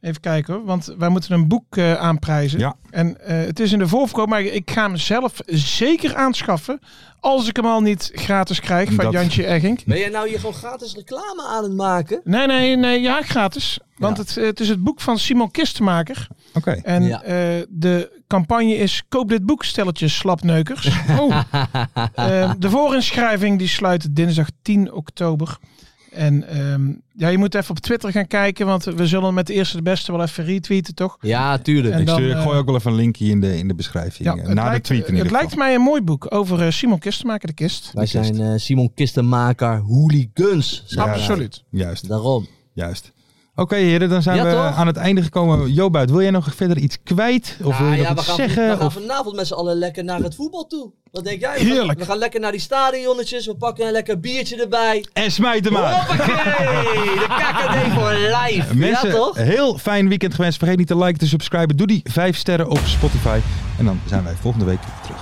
E: Even kijken hoor, want wij moeten een boek eh, aanprijzen.
C: Ja.
E: En eh, het is in de voorverkoop, maar ik ga hem zelf zeker aanschaffen. Als ik hem al niet gratis krijg van
C: Dat-
E: Jantje Egging.
D: Ben jij nou hier gewoon gratis reclame aan het maken?
E: Nee, nee, nee, ja, gratis. Want
C: Ja.
E: Het, eh, het is het boek van Simon Kistemaker.
C: Oké.
E: En
D: Ja.
E: eh, de campagne is koop dit boek, stelletjes slapneukers. Oh. Eh, de voorinschrijving die sluit dinsdag 10 oktober. En ehm, ja, je moet even op Twitter gaan kijken, want we zullen met de eerste de beste wel even retweeten, toch?
D: Ja, tuurlijk.
E: En-
C: ik,
E: dan,
C: stuur, ik gooi
E: eh,
C: ook wel even een linkje in de, in de beschrijving. eh, na
E: lijkt,
C: de tweet in ieder
E: het
C: geval.
E: lijkt mij een mooi boek over eh, Simon Kistemaker, de kist.
D: Wij zijn eh, Simon Kistenmaker hooligans. zijn wij.
E: Absoluut.
C: Juist,
D: Daarom.
C: juist. Oké heren, dan zijn
D: Ja,
C: we
D: toch?
C: aan het einde gekomen. Jobuit, wil jij nog verder iets kwijt? Of wil
D: Ah,
C: je nog
D: ja, we
C: iets
D: gaan,
C: zeggen?
D: we gaan
C: of...
D: vanavond met z'n allen lekker naar het voetbal toe. Wat denk jij? We gaan-
E: Heerlijk.
D: We gaan lekker naar die stadionnetjes. We pakken een lekker biertje erbij.
C: En smijt hem aan!
D: Hoppakee! De KKD voor live.
C: Ah. Mensen, Eh.
D: ja toch?
C: heel fijn weekend gewenst. Vergeet niet te liken, te subscriben. Doe die 5 sterren op Spotify. En dan zijn wij volgende week weer terug.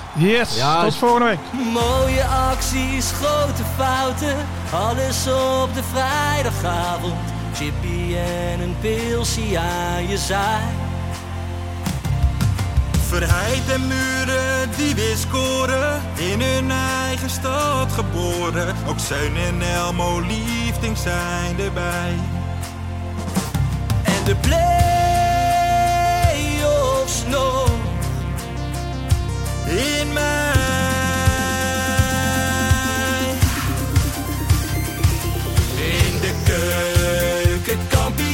E: Yes,
D: Ja,
E: tot
D: is-
E: volgende week.
A: Mooie acties, grote fouten, alles op de vrijdagavond. Chippy en een pilsie aan je zaai.
B: Verheid en muren die weer scoren, in hun eigen stad geboren. Ook Zeun en Elmo liefding zijn erbij.
A: En de play-offs nog.
B: In mij.
A: In de keuken, kampioen,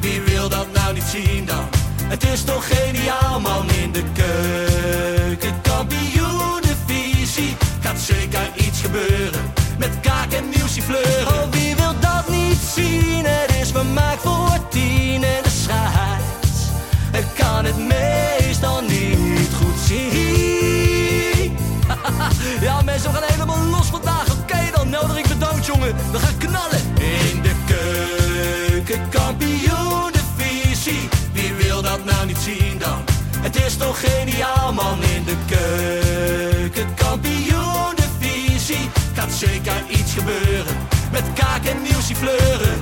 A: Wie wil dat nou niet zien dan? Het is
D: is toch geniaal man in de keuken. Kampioenenvisie gaat zeker iets gebeuren. Met kaak en muziek fleuren. Oh, wie wil dat niet zien? Het is vermaakt voor tien en de scheids. Ik kan het meestal niet goed zien. Ja, mensen, we gaan helemaal los vandaag. Oké, dan nodig ik bedankt, jongen. We gaan knallen. In de keuken, kampioen de visie. Wie wil dat nou niet zien dan? Het is toch geniaal, man. In de keuken, kampioen de visie. Gaat zeker iets gebeuren. Met kaak en nieuwsie fleuren.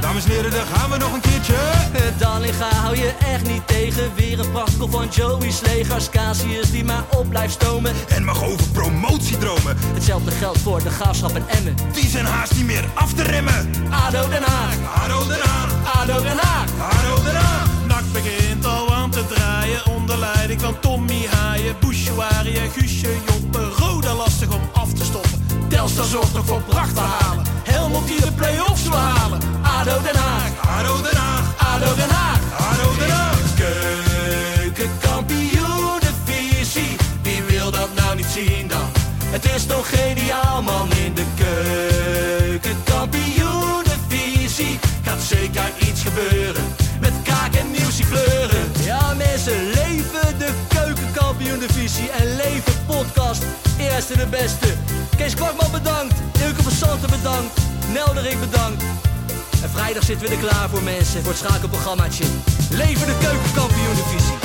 G: Dames en heren, daar gaan we nog een keertje.
D: Dallinga Eh, hou je echt niet tegen. Weer een prachtkel van Joey's legers. Casius die maar op blijft stomen.
G: En mag over promotiedromen.
D: Hetzelfde geldt voor de graafschap en Emmen.
G: Die zijn haast niet meer af te remmen.
D: ADO Den Haag,
G: Haro Den Haag,
D: ADO Den Haag.
G: Haro Den Haag.
B: Nak begint al aan te draaien onder leiding van Tommy Haaien, Bouchouari en Guusje Joppen. Roda lastig om af te stoppen. Telstar zorgt nog voor pracht te halen. Helmond die de play-offs wil halen.
D: ADO Den Haag,
G: Haro Den Haag,
D: ADO Den Haag.
G: Haro Den Haag.
D: Keukenkampioenenvisie, wie wil dat nou niet zien dan? Het is toch geniaal man in de keukenkampioenenvisie. Gaat zeker iets gebeuren, met kaak en nieuwsie fleuren. Ja mensen, leven de keukenkampioenenvisie en leven podcast. Eerste de beste. Kees Kwakman bedankt, Ilke van Santen bedankt, Nelderik bedankt. En vrijdag zitten we er klaar voor mensen, voor het schakelprogrammaatje. Leven de keukenkampioenenvisie.